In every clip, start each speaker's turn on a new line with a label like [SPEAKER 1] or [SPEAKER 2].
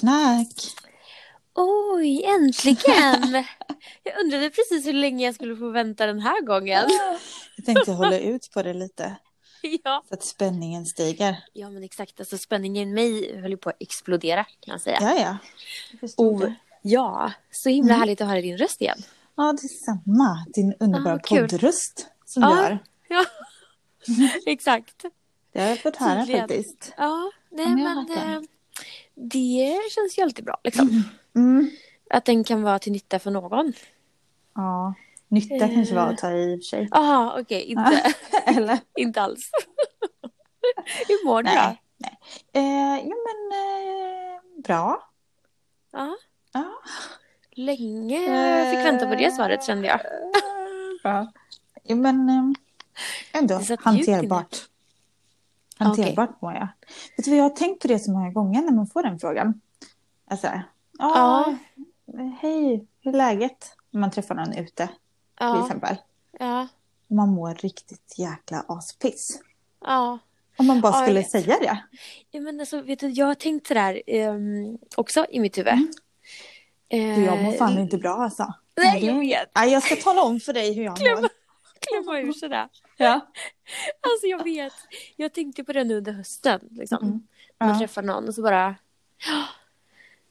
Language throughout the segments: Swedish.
[SPEAKER 1] knark.
[SPEAKER 2] Oj, äntligen! jag undrade precis hur länge jag skulle få vänta den här gången.
[SPEAKER 1] Jag tänkte hålla ut på det lite
[SPEAKER 2] ja.
[SPEAKER 1] så att spänningen stiger.
[SPEAKER 2] ja, men exakt. Alltså spänningen i mig höll ju på att explodera kan jag säga.
[SPEAKER 1] Ja, ja. Jag förstår
[SPEAKER 2] Oh,
[SPEAKER 1] det.
[SPEAKER 2] ja, så himla härligt att höra din röst igen.
[SPEAKER 1] Ja, det är samma. Din underbara
[SPEAKER 2] Ah, kul.
[SPEAKER 1] poddröst som
[SPEAKER 2] Ja.
[SPEAKER 1] du har.
[SPEAKER 2] Ja, exakt.
[SPEAKER 1] Det har jag fått höra
[SPEAKER 2] Tydligen.
[SPEAKER 1] faktiskt.
[SPEAKER 2] Ja, nej
[SPEAKER 1] Ja, men jag
[SPEAKER 2] men
[SPEAKER 1] fattar.
[SPEAKER 2] eh, det känns ju alltid bra liksom.
[SPEAKER 1] Mm.
[SPEAKER 2] Att den kan vara till nytta för någon.
[SPEAKER 1] Ja, nytta
[SPEAKER 2] Eh.
[SPEAKER 1] kanske var att ta i och för sig.
[SPEAKER 2] Jaha, okej, inte,
[SPEAKER 1] Eller?
[SPEAKER 2] inte alls. Hur mår du då?
[SPEAKER 1] Nej. nej. Eh, jo, men eh, bra.
[SPEAKER 2] Ja.
[SPEAKER 1] Ja.
[SPEAKER 2] Länge jag fick vänta på det svaret kände jag.
[SPEAKER 1] Eh, Bra. Jo, men eh, ändå
[SPEAKER 2] Det satt djupt
[SPEAKER 1] hanterbart. Hanterbart mår jag. Vet du vad, jag har tänkt på det så många gånger när man får den frågan. Alltså, ja, hej, hur är läget? När man träffar någon ute till
[SPEAKER 2] Ja,
[SPEAKER 1] exempel.
[SPEAKER 2] ja,
[SPEAKER 1] Man mår riktigt jäkla aspiss.
[SPEAKER 2] ja.
[SPEAKER 1] Om man bara
[SPEAKER 2] Ja, jag
[SPEAKER 1] skulle
[SPEAKER 2] vet.
[SPEAKER 1] säga det.
[SPEAKER 2] Ja, men alltså, vet du, jag har tänkt sådär ehm, också i mitt huvud.
[SPEAKER 1] Du, jag mår
[SPEAKER 2] Eh,
[SPEAKER 1] fan inte bra alltså.
[SPEAKER 2] Nej, jag
[SPEAKER 1] Det-
[SPEAKER 2] vet.
[SPEAKER 1] Nej, jag ska tala om för dig hur jag mår.
[SPEAKER 2] Klämma ur sådär.
[SPEAKER 1] Ja.
[SPEAKER 2] Alltså jag vet. Jag tänkte på det nu under hösten. Liksom.
[SPEAKER 1] Mm.
[SPEAKER 2] Man
[SPEAKER 1] Ja.
[SPEAKER 2] träffar någon och så bara... "Ja."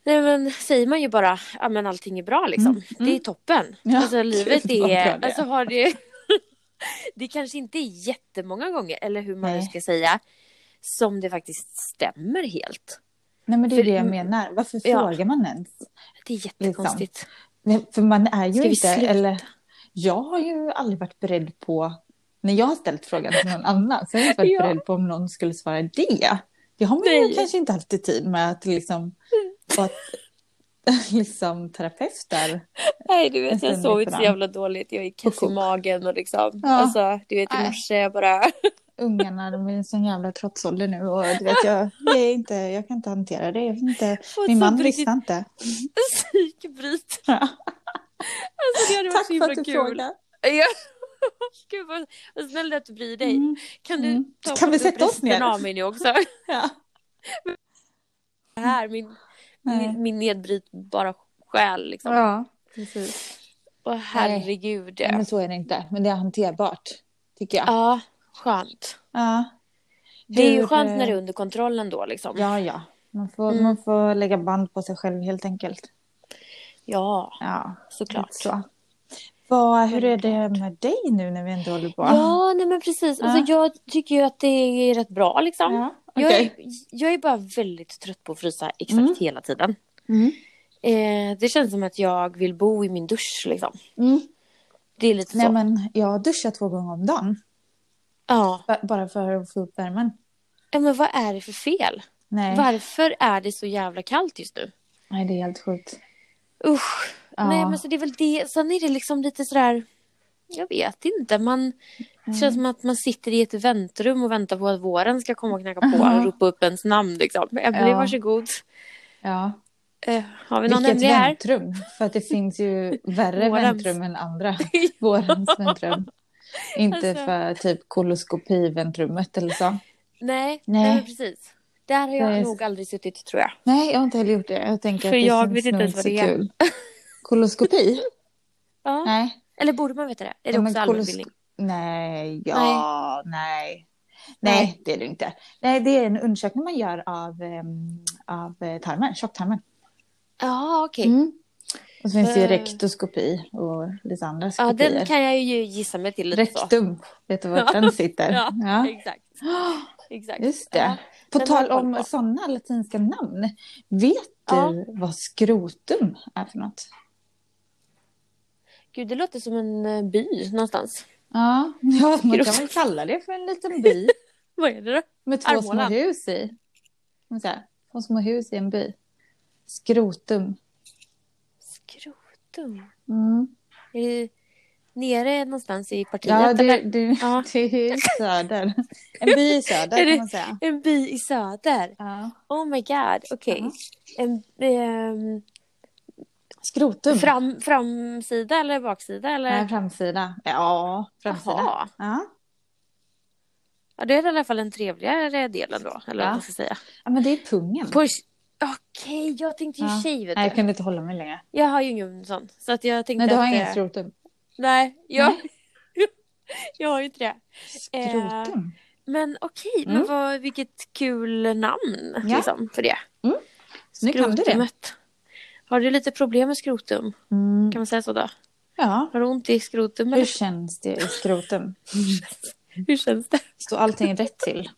[SPEAKER 2] Nej men säger man ju bara ja men allting är bra liksom.
[SPEAKER 1] Mm, mm.
[SPEAKER 2] Det är toppen.
[SPEAKER 1] Ja,
[SPEAKER 2] alltså livet
[SPEAKER 1] gud, vad bra det
[SPEAKER 2] är...
[SPEAKER 1] är.
[SPEAKER 2] Alltså har det... det kanske inte är jättemånga gånger, eller hur man nu
[SPEAKER 1] Nej.
[SPEAKER 2] ska säga, som det faktiskt stämmer helt.
[SPEAKER 1] Nej, men det är
[SPEAKER 2] För-
[SPEAKER 1] det jag menar. Varför
[SPEAKER 2] Ja.
[SPEAKER 1] frågar man ens?
[SPEAKER 2] Det
[SPEAKER 1] Liksom.
[SPEAKER 2] är jättekonstigt.
[SPEAKER 1] Nej, För man är ju
[SPEAKER 2] Ska vi
[SPEAKER 1] inte...
[SPEAKER 2] sluta?
[SPEAKER 1] Eller, jag har ju aldrig varit beredd på... När jag har ställt frågan till någon annan så har jag inte varit
[SPEAKER 2] Ja.
[SPEAKER 1] beredd på om någon skulle svara det. Det har man
[SPEAKER 2] Nej. Mm.
[SPEAKER 1] ju kanske inte alltid tid med att liksom... Och att, liksom terapeuter.
[SPEAKER 2] Nej du vet
[SPEAKER 1] Nästan
[SPEAKER 2] jag sov inte
[SPEAKER 1] likadant.
[SPEAKER 2] så jävla dåligt. Jag är
[SPEAKER 1] Och
[SPEAKER 2] kass i
[SPEAKER 1] kok.
[SPEAKER 2] magen och liksom.
[SPEAKER 1] Ja.
[SPEAKER 2] Alltså du vet i
[SPEAKER 1] Nej.
[SPEAKER 2] morse jag bara.
[SPEAKER 1] Ungarna, de är i sån jävla trotsålder nu och du vet, jag, jag, är inte, jag kan inte hantera det. Jag vet inte,
[SPEAKER 2] fått
[SPEAKER 1] min man
[SPEAKER 2] sånt riktigt
[SPEAKER 1] lyssnar inte.
[SPEAKER 2] Psykbryt.
[SPEAKER 1] Ja.
[SPEAKER 2] Alltså det hade varit
[SPEAKER 1] Tack
[SPEAKER 2] så
[SPEAKER 1] för
[SPEAKER 2] himla
[SPEAKER 1] att du
[SPEAKER 2] kul.
[SPEAKER 1] frågade.
[SPEAKER 2] Ja. Gud vad, vad snäll du är att du bryr dig.
[SPEAKER 1] Mm.
[SPEAKER 2] Kan du
[SPEAKER 1] Mm.
[SPEAKER 2] ta
[SPEAKER 1] Kan vi
[SPEAKER 2] upp
[SPEAKER 1] sätta oss
[SPEAKER 2] resten
[SPEAKER 1] ner?
[SPEAKER 2] av mig nu också?
[SPEAKER 1] Ja.
[SPEAKER 2] Här, min,
[SPEAKER 1] Nej.
[SPEAKER 2] min, min nedbrytbara själ liksom.
[SPEAKER 1] ja, precis.
[SPEAKER 2] Åh herregud.
[SPEAKER 1] Nej, men så är det inte. Men det är hanterbart, tycker jag.
[SPEAKER 2] Ja, skönt.
[SPEAKER 1] Ja.
[SPEAKER 2] Det är ju
[SPEAKER 1] Hur,
[SPEAKER 2] skönt
[SPEAKER 1] eh,
[SPEAKER 2] när det är under kontrollen då liksom.
[SPEAKER 1] Ja, ja. Man får,
[SPEAKER 2] Mm.
[SPEAKER 1] man får lägga band på sig själv helt enkelt.
[SPEAKER 2] Ja,
[SPEAKER 1] Ja,
[SPEAKER 2] såklart.
[SPEAKER 1] lite så. Vad, hur är det med dig nu när vi ändå håller på?
[SPEAKER 2] Ja, nej men precis. Alltså, jag tycker ju att det är rätt bra liksom.
[SPEAKER 1] ja
[SPEAKER 2] Jag,
[SPEAKER 1] okej.
[SPEAKER 2] är, jag är bara väldigt trött på att frysa exakt
[SPEAKER 1] Mm.
[SPEAKER 2] hela tiden.
[SPEAKER 1] Mm.
[SPEAKER 2] Eh, det känns som att jag vill bo i min dusch liksom.
[SPEAKER 1] Mm.
[SPEAKER 2] Det är lite
[SPEAKER 1] Nej,
[SPEAKER 2] så.
[SPEAKER 1] men jag duschar två gånger om dagen.
[SPEAKER 2] Ja.
[SPEAKER 1] ba- Bara för att få upp värmen.
[SPEAKER 2] Ja, men vad är det för fel?
[SPEAKER 1] Nej,
[SPEAKER 2] Varför är det så jävla kallt just nu?
[SPEAKER 1] Nej det är helt sjukt.
[SPEAKER 2] Usch.
[SPEAKER 1] Ja.
[SPEAKER 2] Nej, men så det är väl det. Sen är det liksom lite sådär... Jag vet inte. Man, Det
[SPEAKER 1] Mm.
[SPEAKER 2] känns som att man sitter i ett väntrum och väntar på att våren ska komma och knacka på
[SPEAKER 1] Ja.
[SPEAKER 2] och ropa upp ens namn. Liksom. Emelie,
[SPEAKER 1] Ja.
[SPEAKER 2] varsågod.
[SPEAKER 1] Ja.
[SPEAKER 2] Eh, har vi någon
[SPEAKER 1] Vilket
[SPEAKER 2] Emelie här?
[SPEAKER 1] väntrum. För att det finns ju värre
[SPEAKER 2] Vårens.
[SPEAKER 1] väntrum än andra. Vårens väntrum. Inte
[SPEAKER 2] Alltså.
[SPEAKER 1] för typ koloskopi-väntrummet eller så.
[SPEAKER 2] Nej,
[SPEAKER 1] Nej.
[SPEAKER 2] nej. men precis. Där har jag
[SPEAKER 1] Det är-
[SPEAKER 2] nog aldrig suttit tror jag.
[SPEAKER 1] Nej, jag har inte heller gjort det. Jag tänker
[SPEAKER 2] För
[SPEAKER 1] att det
[SPEAKER 2] jag
[SPEAKER 1] känns
[SPEAKER 2] vet inte
[SPEAKER 1] nog
[SPEAKER 2] ens vad det
[SPEAKER 1] så
[SPEAKER 2] är.
[SPEAKER 1] kul. Koloskopi?
[SPEAKER 2] Ja.
[SPEAKER 1] Nej.
[SPEAKER 2] Eller borde man veta det? Är det
[SPEAKER 1] Ja, men
[SPEAKER 2] också
[SPEAKER 1] kolos-
[SPEAKER 2] allmänbildning?
[SPEAKER 1] Nej, ja, nej. nej.
[SPEAKER 2] Nej.
[SPEAKER 1] det är det inte. Nej, det är en undersökning man gör av, em, av eh, tarmen, tjocktarmen.
[SPEAKER 2] Ja, okej.
[SPEAKER 1] Mm. Och så finns det ju
[SPEAKER 2] Eh.
[SPEAKER 1] rektoskopi och lite andra
[SPEAKER 2] Ja,
[SPEAKER 1] skopier.
[SPEAKER 2] den kan jag ju gissa mig till lite så.
[SPEAKER 1] Rektum, vet du var den sitter?
[SPEAKER 2] Ja,
[SPEAKER 1] Ja.
[SPEAKER 2] Exakt. exakt.
[SPEAKER 1] Just det.
[SPEAKER 2] Ja.
[SPEAKER 1] På
[SPEAKER 2] den har
[SPEAKER 1] tal
[SPEAKER 2] jag koll
[SPEAKER 1] om
[SPEAKER 2] på.
[SPEAKER 1] sådana latinska namn, vet
[SPEAKER 2] Ja.
[SPEAKER 1] du vad skrotum är för något?
[SPEAKER 2] Gud, det låter som en eh, by någonstans.
[SPEAKER 1] Ja, ja man kan
[SPEAKER 2] Skrotum.
[SPEAKER 1] väl kalla det för en liten by
[SPEAKER 2] Vad är det då?
[SPEAKER 1] med två
[SPEAKER 2] Arbola.
[SPEAKER 1] små hus i. Kan man säga. Två små hus i en by. Skrotum.
[SPEAKER 2] Skrotum.
[SPEAKER 1] Mm.
[SPEAKER 2] Är det nere någonstans i partiet?
[SPEAKER 1] Ja, det,
[SPEAKER 2] eller?
[SPEAKER 1] det,
[SPEAKER 2] Ja.
[SPEAKER 1] det är i söder. En by i söder
[SPEAKER 2] Är det-
[SPEAKER 1] kan man säga.
[SPEAKER 2] En by i söder.
[SPEAKER 1] Ja.
[SPEAKER 2] Oh my god, okej.
[SPEAKER 1] Ja.
[SPEAKER 2] En ehm,
[SPEAKER 1] Skrotum.
[SPEAKER 2] fram, framsida eller baksida? Eller?
[SPEAKER 1] Nej, framsida. Ja, framsida.
[SPEAKER 2] Jaha.
[SPEAKER 1] Ja.
[SPEAKER 2] Ja, det är i alla fall den trevligare delen då. Eller
[SPEAKER 1] Ja.
[SPEAKER 2] vad man ska säga.
[SPEAKER 1] ja, men det är pungen.
[SPEAKER 2] På, Okej, jag tänkte ju
[SPEAKER 1] Ja.
[SPEAKER 2] tjej vet
[SPEAKER 1] Nej, jag
[SPEAKER 2] du.
[SPEAKER 1] kunde inte hålla mig längre.
[SPEAKER 2] Jag har ju ingen sån. Så att jag tänkte
[SPEAKER 1] Nej, du har
[SPEAKER 2] att,
[SPEAKER 1] ingen
[SPEAKER 2] eh,
[SPEAKER 1] skrotum.
[SPEAKER 2] Nej, jag, jag har ju inte det. Eh,
[SPEAKER 1] Skrotum?
[SPEAKER 2] Men okej, men
[SPEAKER 1] Mm.
[SPEAKER 2] vad, vilket kul namn
[SPEAKER 1] Ja.
[SPEAKER 2] liksom, för det.
[SPEAKER 1] Så nu kan du det.
[SPEAKER 2] Skrotumet. Har du lite problem med skrotum?
[SPEAKER 1] Mm,
[SPEAKER 2] Kan man säga så då?
[SPEAKER 1] ja.
[SPEAKER 2] Har du ont i skrotum?
[SPEAKER 1] Hur
[SPEAKER 2] Eller?
[SPEAKER 1] känns det i skrotum?
[SPEAKER 2] Hur känns det?
[SPEAKER 1] Står allting rätt till?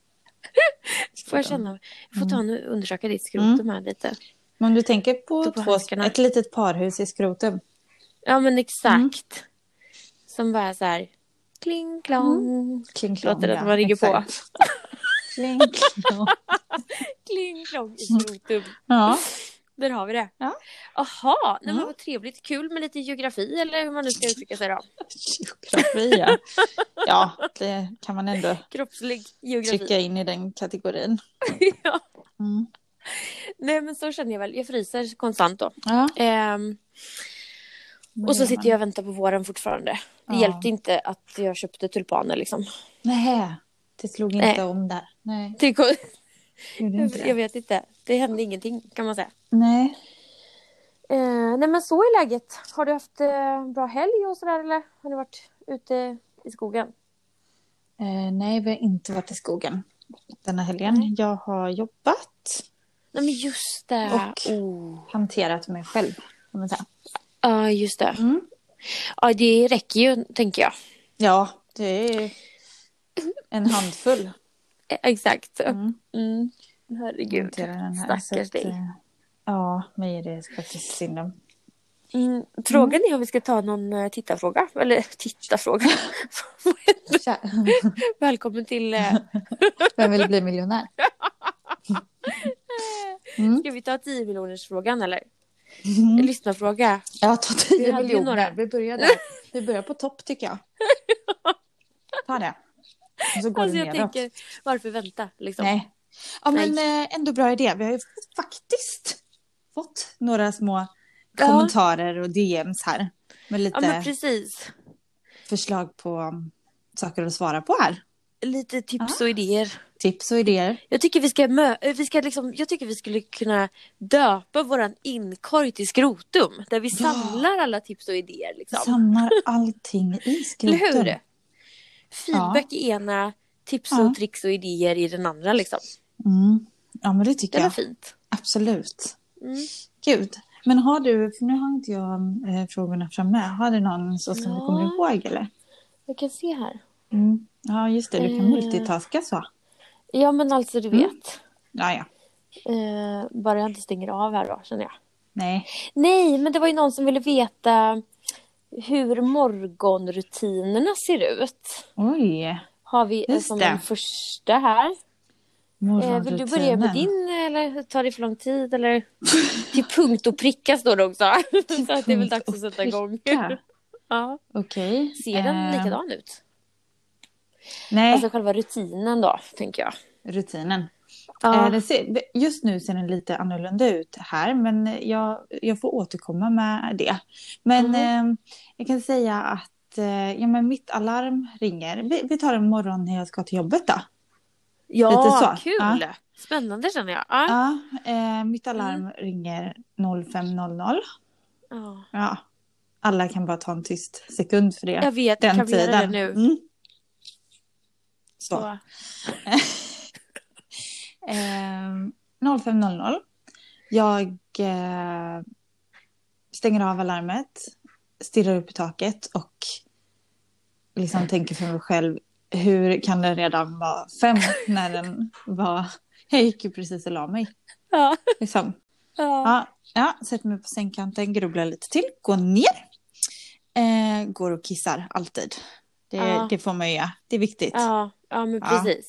[SPEAKER 2] Får jag känna? Mm. Jag får ta en,
[SPEAKER 1] Mm.
[SPEAKER 2] undersöka ditt skrotum här lite.
[SPEAKER 1] Men om du tänker
[SPEAKER 2] Stå
[SPEAKER 1] på
[SPEAKER 2] på
[SPEAKER 1] två,
[SPEAKER 2] handskarna.
[SPEAKER 1] ett litet parhus i skrotum.
[SPEAKER 2] Ja, men exakt.
[SPEAKER 1] Mm.
[SPEAKER 2] Som bara så här... Kling, klong.
[SPEAKER 1] Kling, klong,
[SPEAKER 2] Låter det
[SPEAKER 1] Mm. ja,
[SPEAKER 2] att man ligger på.
[SPEAKER 1] exakt. Kling, klong.
[SPEAKER 2] Kling, klong i skrotum.
[SPEAKER 1] Ja.
[SPEAKER 2] Där har vi det.
[SPEAKER 1] Mm. Ja.
[SPEAKER 2] Aha, nej, men
[SPEAKER 1] Mm.
[SPEAKER 2] vad trevligt. Kul med lite geografi eller hur man nu ska uttrycka sig då.
[SPEAKER 1] Geografi, ja. Ja, det kan man ändå
[SPEAKER 2] Kroppslig geografi.
[SPEAKER 1] trycka in i den kategorin.
[SPEAKER 2] ja.
[SPEAKER 1] Mm.
[SPEAKER 2] Nej, men så känner jag väl. Jag fryser konstant då.
[SPEAKER 1] Ja,
[SPEAKER 2] Ehm,
[SPEAKER 1] det
[SPEAKER 2] och så
[SPEAKER 1] gör
[SPEAKER 2] sitter
[SPEAKER 1] man.
[SPEAKER 2] jag och väntar på våren fortfarande. Det
[SPEAKER 1] Ja.
[SPEAKER 2] hjälpte inte att jag köpte tulpaner liksom.
[SPEAKER 1] Nej, det slog inte
[SPEAKER 2] Nej.
[SPEAKER 1] om där. Nej,
[SPEAKER 2] Det kom-
[SPEAKER 1] gjorde inte
[SPEAKER 2] Jag
[SPEAKER 1] det.
[SPEAKER 2] vet inte. Det hände ingenting kan man säga.
[SPEAKER 1] Nej.
[SPEAKER 2] Eh, nej men så är läget. Har du haft eh, bra helg och sådär eller? Har du varit ute i skogen?
[SPEAKER 1] Eh, nej, vi har inte varit i skogen denna helgen.
[SPEAKER 2] Nej.
[SPEAKER 1] Jag har jobbat,
[SPEAKER 2] Nej men just det.
[SPEAKER 1] Och-
[SPEAKER 2] Oh.
[SPEAKER 1] hanterat mig själv. kan man säga.
[SPEAKER 2] Ja just det.
[SPEAKER 1] Mm.
[SPEAKER 2] Ja det räcker ju tänker jag.
[SPEAKER 1] Ja, det är en handfull.
[SPEAKER 2] Eh, Exakt.
[SPEAKER 1] Mm.
[SPEAKER 2] Mm. Herregud.
[SPEAKER 1] hanterar den här. Så
[SPEAKER 2] Stackars
[SPEAKER 1] att,
[SPEAKER 2] dig.
[SPEAKER 1] eh, Ja, mig är det faktiskt synd om.
[SPEAKER 2] Mm. Frågan är om vi ska ta någon eh, tittarfråga. Eller tittarfråga.
[SPEAKER 1] Tja,
[SPEAKER 2] Välkommen till... eh,
[SPEAKER 1] Vem vill bli miljonär? Mm.
[SPEAKER 2] Ska vi ta 10 miljoners frågan eller? Lyssnarfråga.
[SPEAKER 1] Jag tar
[SPEAKER 2] Mm. Vi
[SPEAKER 1] 10
[SPEAKER 2] hade ju några.
[SPEAKER 1] miljoner. Vi börjar där. Vi börjar på topp tycker jag. Ta det. Och så går
[SPEAKER 2] Alltså
[SPEAKER 1] det
[SPEAKER 2] jag
[SPEAKER 1] neråt.
[SPEAKER 2] tänker, varför vänta liksom?
[SPEAKER 1] Nej. Ja, men eh, ändå bra idé. Vi har ju faktiskt fått några små
[SPEAKER 2] Ja.
[SPEAKER 1] kommentarer och DMs här. Med
[SPEAKER 2] Ja men
[SPEAKER 1] lite
[SPEAKER 2] precis.
[SPEAKER 1] förslag på um, saker att svara på här.
[SPEAKER 2] Lite tips och idéer.
[SPEAKER 1] Tips och idéer.
[SPEAKER 2] Jag tycker vi ska, mö- eh, vi ska liksom, jag tycker vi skulle kunna döpa våran inkorg till skrotum. Där vi samlar alla tips och idéer liksom.
[SPEAKER 1] Samlar allting i
[SPEAKER 2] Eller
[SPEAKER 1] skrotum.
[SPEAKER 2] hur? Feedback i ena, tips och
[SPEAKER 1] Ja.
[SPEAKER 2] tricks och idéer i den andra liksom.
[SPEAKER 1] Mm. Ja, men det
[SPEAKER 2] Det
[SPEAKER 1] tycker
[SPEAKER 2] var
[SPEAKER 1] jag.
[SPEAKER 2] fint.
[SPEAKER 1] Absolut.
[SPEAKER 2] Mm.
[SPEAKER 1] Gud. Men har du, för nu har inte jag eh, frågorna framme, har du någon så som
[SPEAKER 2] Ja.
[SPEAKER 1] du kommer ihåg eller?
[SPEAKER 2] Jag kan se här.
[SPEAKER 1] Mm. Ja, just det, du kan
[SPEAKER 2] Eh.
[SPEAKER 1] multitaska så.
[SPEAKER 2] Ja men alltså du
[SPEAKER 1] Mm.
[SPEAKER 2] vet.
[SPEAKER 1] Ja, ja.
[SPEAKER 2] Eh, bara jag inte stänger av här då känner jag.
[SPEAKER 1] Nej.
[SPEAKER 2] Nej, men det var ju någon som ville veta hur morgonrutinerna ser ut.
[SPEAKER 1] Oj.
[SPEAKER 2] Har vi eh,
[SPEAKER 1] Just
[SPEAKER 2] som
[SPEAKER 1] det.
[SPEAKER 2] den första här. Eh, vill du börja med
[SPEAKER 1] Morgonrutinen.
[SPEAKER 2] din eller tar det för lång tid? Eller? Till punkt och pricka står det också. Så att det är väl
[SPEAKER 1] punkt
[SPEAKER 2] dags att
[SPEAKER 1] och
[SPEAKER 2] sätta igång.
[SPEAKER 1] pricka.
[SPEAKER 2] Ja.
[SPEAKER 1] Okej.
[SPEAKER 2] Ser den
[SPEAKER 1] Eh,
[SPEAKER 2] likadan ut?
[SPEAKER 1] Nej,
[SPEAKER 2] Alltså själva rutinen då, tänker jag.
[SPEAKER 1] rutinen. Eh,
[SPEAKER 2] Ja,
[SPEAKER 1] det ser, just nu ser den lite annorlunda ut här, men jag, jag får återkomma med det. Men
[SPEAKER 2] Mm.
[SPEAKER 1] eh, jag kan säga att eh, ja, men mitt alarm ringer. Vi, vi tar en morgon när jag ska till jobbet då. lite
[SPEAKER 2] ja
[SPEAKER 1] så.
[SPEAKER 2] kul!
[SPEAKER 1] Ja.
[SPEAKER 2] Spännande känner jag. Ja. Mm.
[SPEAKER 1] Ja, eh, mitt alarm ringer 05.00.
[SPEAKER 2] Ja.
[SPEAKER 1] Ja. Alla kan bara ta en tyst sekund för det.
[SPEAKER 2] Jag vet,
[SPEAKER 1] Den
[SPEAKER 2] kan vi göra det
[SPEAKER 1] tiden.
[SPEAKER 2] nu?
[SPEAKER 1] Mm. Så.
[SPEAKER 2] Så.
[SPEAKER 1] Ehm, 05.00. Jag eh, stänger av alarmet, stirrar upp i taket och liksom tänker för mig själv hur kan den redan vara fem när den var... Jag gick ju precis och la mig.
[SPEAKER 2] Ja.
[SPEAKER 1] Liksom.
[SPEAKER 2] Ja.
[SPEAKER 1] Ja, ja, sätter mig på sängkanten, grubblar lite till, går ner. Eh, går och kissar alltid. Det,
[SPEAKER 2] Ja.
[SPEAKER 1] det får man ju göra. Det är viktigt.
[SPEAKER 2] Ja, ja men
[SPEAKER 1] Ja.
[SPEAKER 2] precis.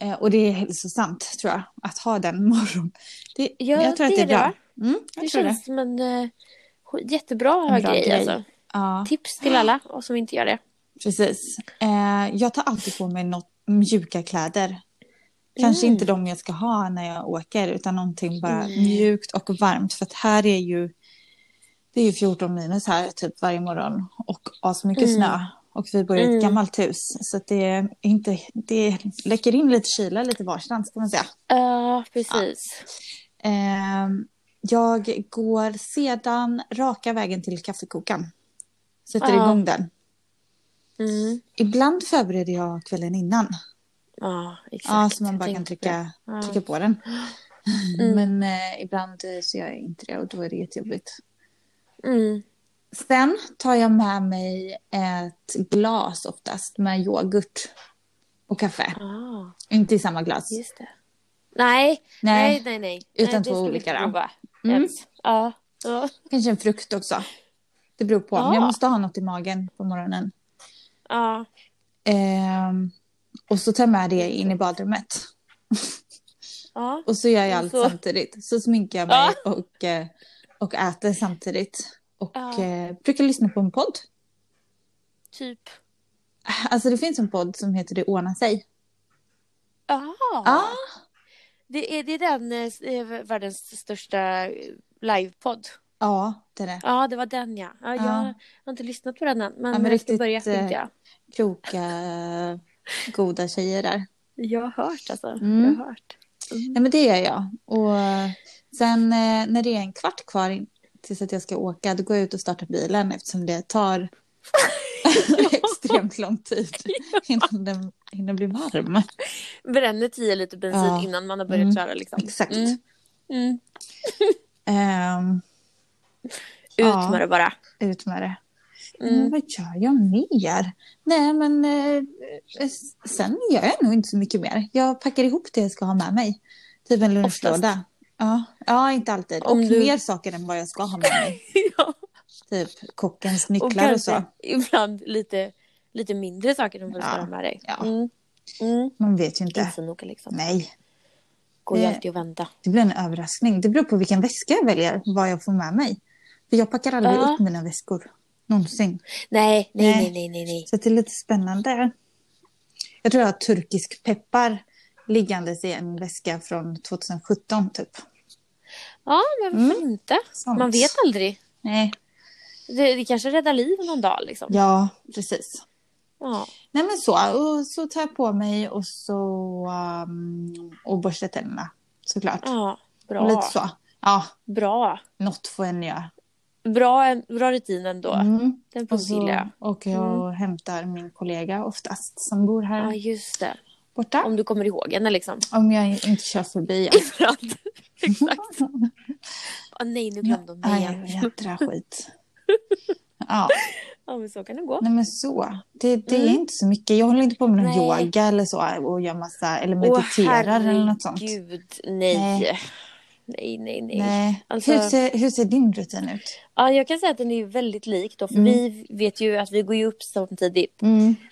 [SPEAKER 1] Eh, och det är hälsosamt tror jag, att ha den morgon. Det,
[SPEAKER 2] Ja,
[SPEAKER 1] jag tror att
[SPEAKER 2] det
[SPEAKER 1] det
[SPEAKER 2] är
[SPEAKER 1] är
[SPEAKER 2] det, va?
[SPEAKER 1] bra. Mm, jag
[SPEAKER 2] Det
[SPEAKER 1] tror
[SPEAKER 2] känns
[SPEAKER 1] det.
[SPEAKER 2] som en eh, sk- jättebra
[SPEAKER 1] En bra
[SPEAKER 2] grej.
[SPEAKER 1] grej.
[SPEAKER 2] Alltså.
[SPEAKER 1] Ja,
[SPEAKER 2] Tips till alla och som inte gör det.
[SPEAKER 1] precis. Eh, jag tar alltid på mig något mjuka kläder. Kanske
[SPEAKER 2] Mm.
[SPEAKER 1] inte de jag ska ha när jag åker, utan någonting bara
[SPEAKER 2] Mm.
[SPEAKER 1] mjukt och varmt. För att här är ju, det är ju 14 minus här typ varje morgon och asmycket
[SPEAKER 2] Mm.
[SPEAKER 1] snö. Och vi bor i ett
[SPEAKER 2] Mm.
[SPEAKER 1] gammalt hus, så att det, är inte, det läcker in lite kyla lite varstans kan man säga.
[SPEAKER 2] Ja, precis.
[SPEAKER 1] Eh, Ehm, jag går sedan raka vägen till kaffekokaren. Sätter
[SPEAKER 2] Ja.
[SPEAKER 1] igång den.
[SPEAKER 2] Mm.
[SPEAKER 1] Ibland förbereder jag kvällen innan.
[SPEAKER 2] Ja, exakt.
[SPEAKER 1] Ja, så man
[SPEAKER 2] Jag
[SPEAKER 1] bara kan
[SPEAKER 2] tänkte på
[SPEAKER 1] trycka,
[SPEAKER 2] det. Ja.
[SPEAKER 1] trycka på den.
[SPEAKER 2] Mm.
[SPEAKER 1] Men eh, ibland eh, så gör jag inte det och då är det jättejobbigt.
[SPEAKER 2] Mm.
[SPEAKER 1] Sen tar jag med mig ett glas oftast med yoghurt och kaffe.
[SPEAKER 2] Ah,
[SPEAKER 1] Inte i samma glas.
[SPEAKER 2] just det. Nej, nej,
[SPEAKER 1] Nej,
[SPEAKER 2] nej. nej.
[SPEAKER 1] Utan
[SPEAKER 2] nej, det
[SPEAKER 1] två
[SPEAKER 2] ska vi
[SPEAKER 1] olika
[SPEAKER 2] inte
[SPEAKER 1] då.
[SPEAKER 2] prova
[SPEAKER 1] Mm.
[SPEAKER 2] ens. Ja. Ja.
[SPEAKER 1] kanske en frukt också. Det beror på.
[SPEAKER 2] Ja.
[SPEAKER 1] Men jag måste ha något i magen på morgonen.
[SPEAKER 2] ja.
[SPEAKER 1] Ehm, och så tar jag med det in i badrummet.
[SPEAKER 2] ja.
[SPEAKER 1] Och så gör jag allt
[SPEAKER 2] Så-
[SPEAKER 1] samtidigt. Så sminkar jag mig och, eh, och äter samtidigt. Och
[SPEAKER 2] Ja.
[SPEAKER 1] eh, brukar lyssna på en podd.
[SPEAKER 2] Typ.
[SPEAKER 1] Alltså det finns en podd som heter Det ordnar sig.
[SPEAKER 2] Ja.
[SPEAKER 1] Ja,
[SPEAKER 2] Det är, det är den eh, s- eh, världens största eh, livepodd.
[SPEAKER 1] ja det är det.
[SPEAKER 2] Ja, det var den ja. ja jag
[SPEAKER 1] Ja.
[SPEAKER 2] har inte lyssnat på den än, men,
[SPEAKER 1] Ja, men
[SPEAKER 2] jag ska
[SPEAKER 1] riktigt,
[SPEAKER 2] börja
[SPEAKER 1] eh,
[SPEAKER 2] tänkte jag.
[SPEAKER 1] Kloka, goda tjejer där.
[SPEAKER 2] Jag har hört alltså.
[SPEAKER 1] Mm.
[SPEAKER 2] Jag har hört.
[SPEAKER 1] Nej men det gör jag. Och eh, sen eh, när det är en kvart kvar in- tills att jag ska åka, då går jag ut och startar bilen eftersom det tar extremt lång tid innan den hinner bli varm.
[SPEAKER 2] Bränner 10 liter bensin
[SPEAKER 1] Ja.
[SPEAKER 2] innan man har börjat
[SPEAKER 1] Mm.
[SPEAKER 2] köra liksom.
[SPEAKER 1] Exakt.
[SPEAKER 2] Mm. Mm.
[SPEAKER 1] Ehm,
[SPEAKER 2] Ut
[SPEAKER 1] Ja.
[SPEAKER 2] med det bara.
[SPEAKER 1] ut med det.
[SPEAKER 2] Mm.
[SPEAKER 1] Men vad gör jag mer? Nej, men eh, eh, sen gör jag nog inte så mycket mer. Jag packar ihop det jag ska ha med mig. Typ en lunchlåda. Ja, ja, inte alltid.
[SPEAKER 2] Om
[SPEAKER 1] och
[SPEAKER 2] du-
[SPEAKER 1] mer saker än vad jag ska ha med mig.
[SPEAKER 2] ja.
[SPEAKER 1] Typ kockens
[SPEAKER 2] Och
[SPEAKER 1] nycklar och,
[SPEAKER 2] kanske
[SPEAKER 1] så.
[SPEAKER 2] ibland lite, lite mindre saker som du ska
[SPEAKER 1] Ja.
[SPEAKER 2] ha med dig.
[SPEAKER 1] Ja.
[SPEAKER 2] Mm. Mm.
[SPEAKER 1] Man vet ju
[SPEAKER 2] Inte
[SPEAKER 1] inte.
[SPEAKER 2] så noga liksom.
[SPEAKER 1] Nej,
[SPEAKER 2] Går ju
[SPEAKER 1] Eh.
[SPEAKER 2] alltid att vända.
[SPEAKER 1] det blir en överraskning. Det beror på vilken väska jag väljer, vad jag får med mig. För jag packar aldrig
[SPEAKER 2] Ja.
[SPEAKER 1] upp mina väskor. Någonsin.
[SPEAKER 2] Nej, nej, nej,
[SPEAKER 1] Nej.
[SPEAKER 2] nej, nej. nej.
[SPEAKER 1] Så det är lite spännande. Jag tror jag har turkisk peppar liggandes i en väska från 2017 typ.
[SPEAKER 2] Ja, men varför inte?
[SPEAKER 1] Mm. Sånt.
[SPEAKER 2] Man vet aldrig.
[SPEAKER 1] Nej.
[SPEAKER 2] Det, det kanske räddar liv någon dag liksom.
[SPEAKER 1] Ja, precis.
[SPEAKER 2] Ja.
[SPEAKER 1] Nej men så, och så tar jag på mig och så um, och borstar tänderna såklart.
[SPEAKER 2] ja.
[SPEAKER 1] Och lite
[SPEAKER 2] Bra.
[SPEAKER 1] så. Ja,
[SPEAKER 2] Bra.
[SPEAKER 1] något får en göra.
[SPEAKER 2] Bra, bra rutin ändå.
[SPEAKER 1] Mm.
[SPEAKER 2] Den
[SPEAKER 1] Och så
[SPEAKER 2] gillar jag.
[SPEAKER 1] åker jag
[SPEAKER 2] Mm.
[SPEAKER 1] och hämtar min kollega oftast som bor här
[SPEAKER 2] Ja, just det.
[SPEAKER 1] borta.
[SPEAKER 2] Om du kommer ihåg henne liksom.
[SPEAKER 1] Om jag inte kör förbi. Ja.
[SPEAKER 2] Ibland. Exakt. Åh, nej, nu glömde hon mig
[SPEAKER 1] Aj,
[SPEAKER 2] igen.
[SPEAKER 1] jädra skit. Ja,
[SPEAKER 2] Ja, men så kan det gå.
[SPEAKER 1] nej men så. Det, det är
[SPEAKER 2] Mm.
[SPEAKER 1] inte så mycket. Jag håller inte på med någon
[SPEAKER 2] Nej.
[SPEAKER 1] yoga eller så och gör massa, eller mediterar eller något sånt.
[SPEAKER 2] Gud, nej.
[SPEAKER 1] Nej.
[SPEAKER 2] Nej, nej, nej.
[SPEAKER 1] Nej.
[SPEAKER 2] Alltså-
[SPEAKER 1] Hur, ser, hur ser din rutin ut?
[SPEAKER 2] Ja, jag kan säga att den är ju väldigt lik då, för
[SPEAKER 1] Mm.
[SPEAKER 2] vi vet ju att vi går ju upp samtidigt.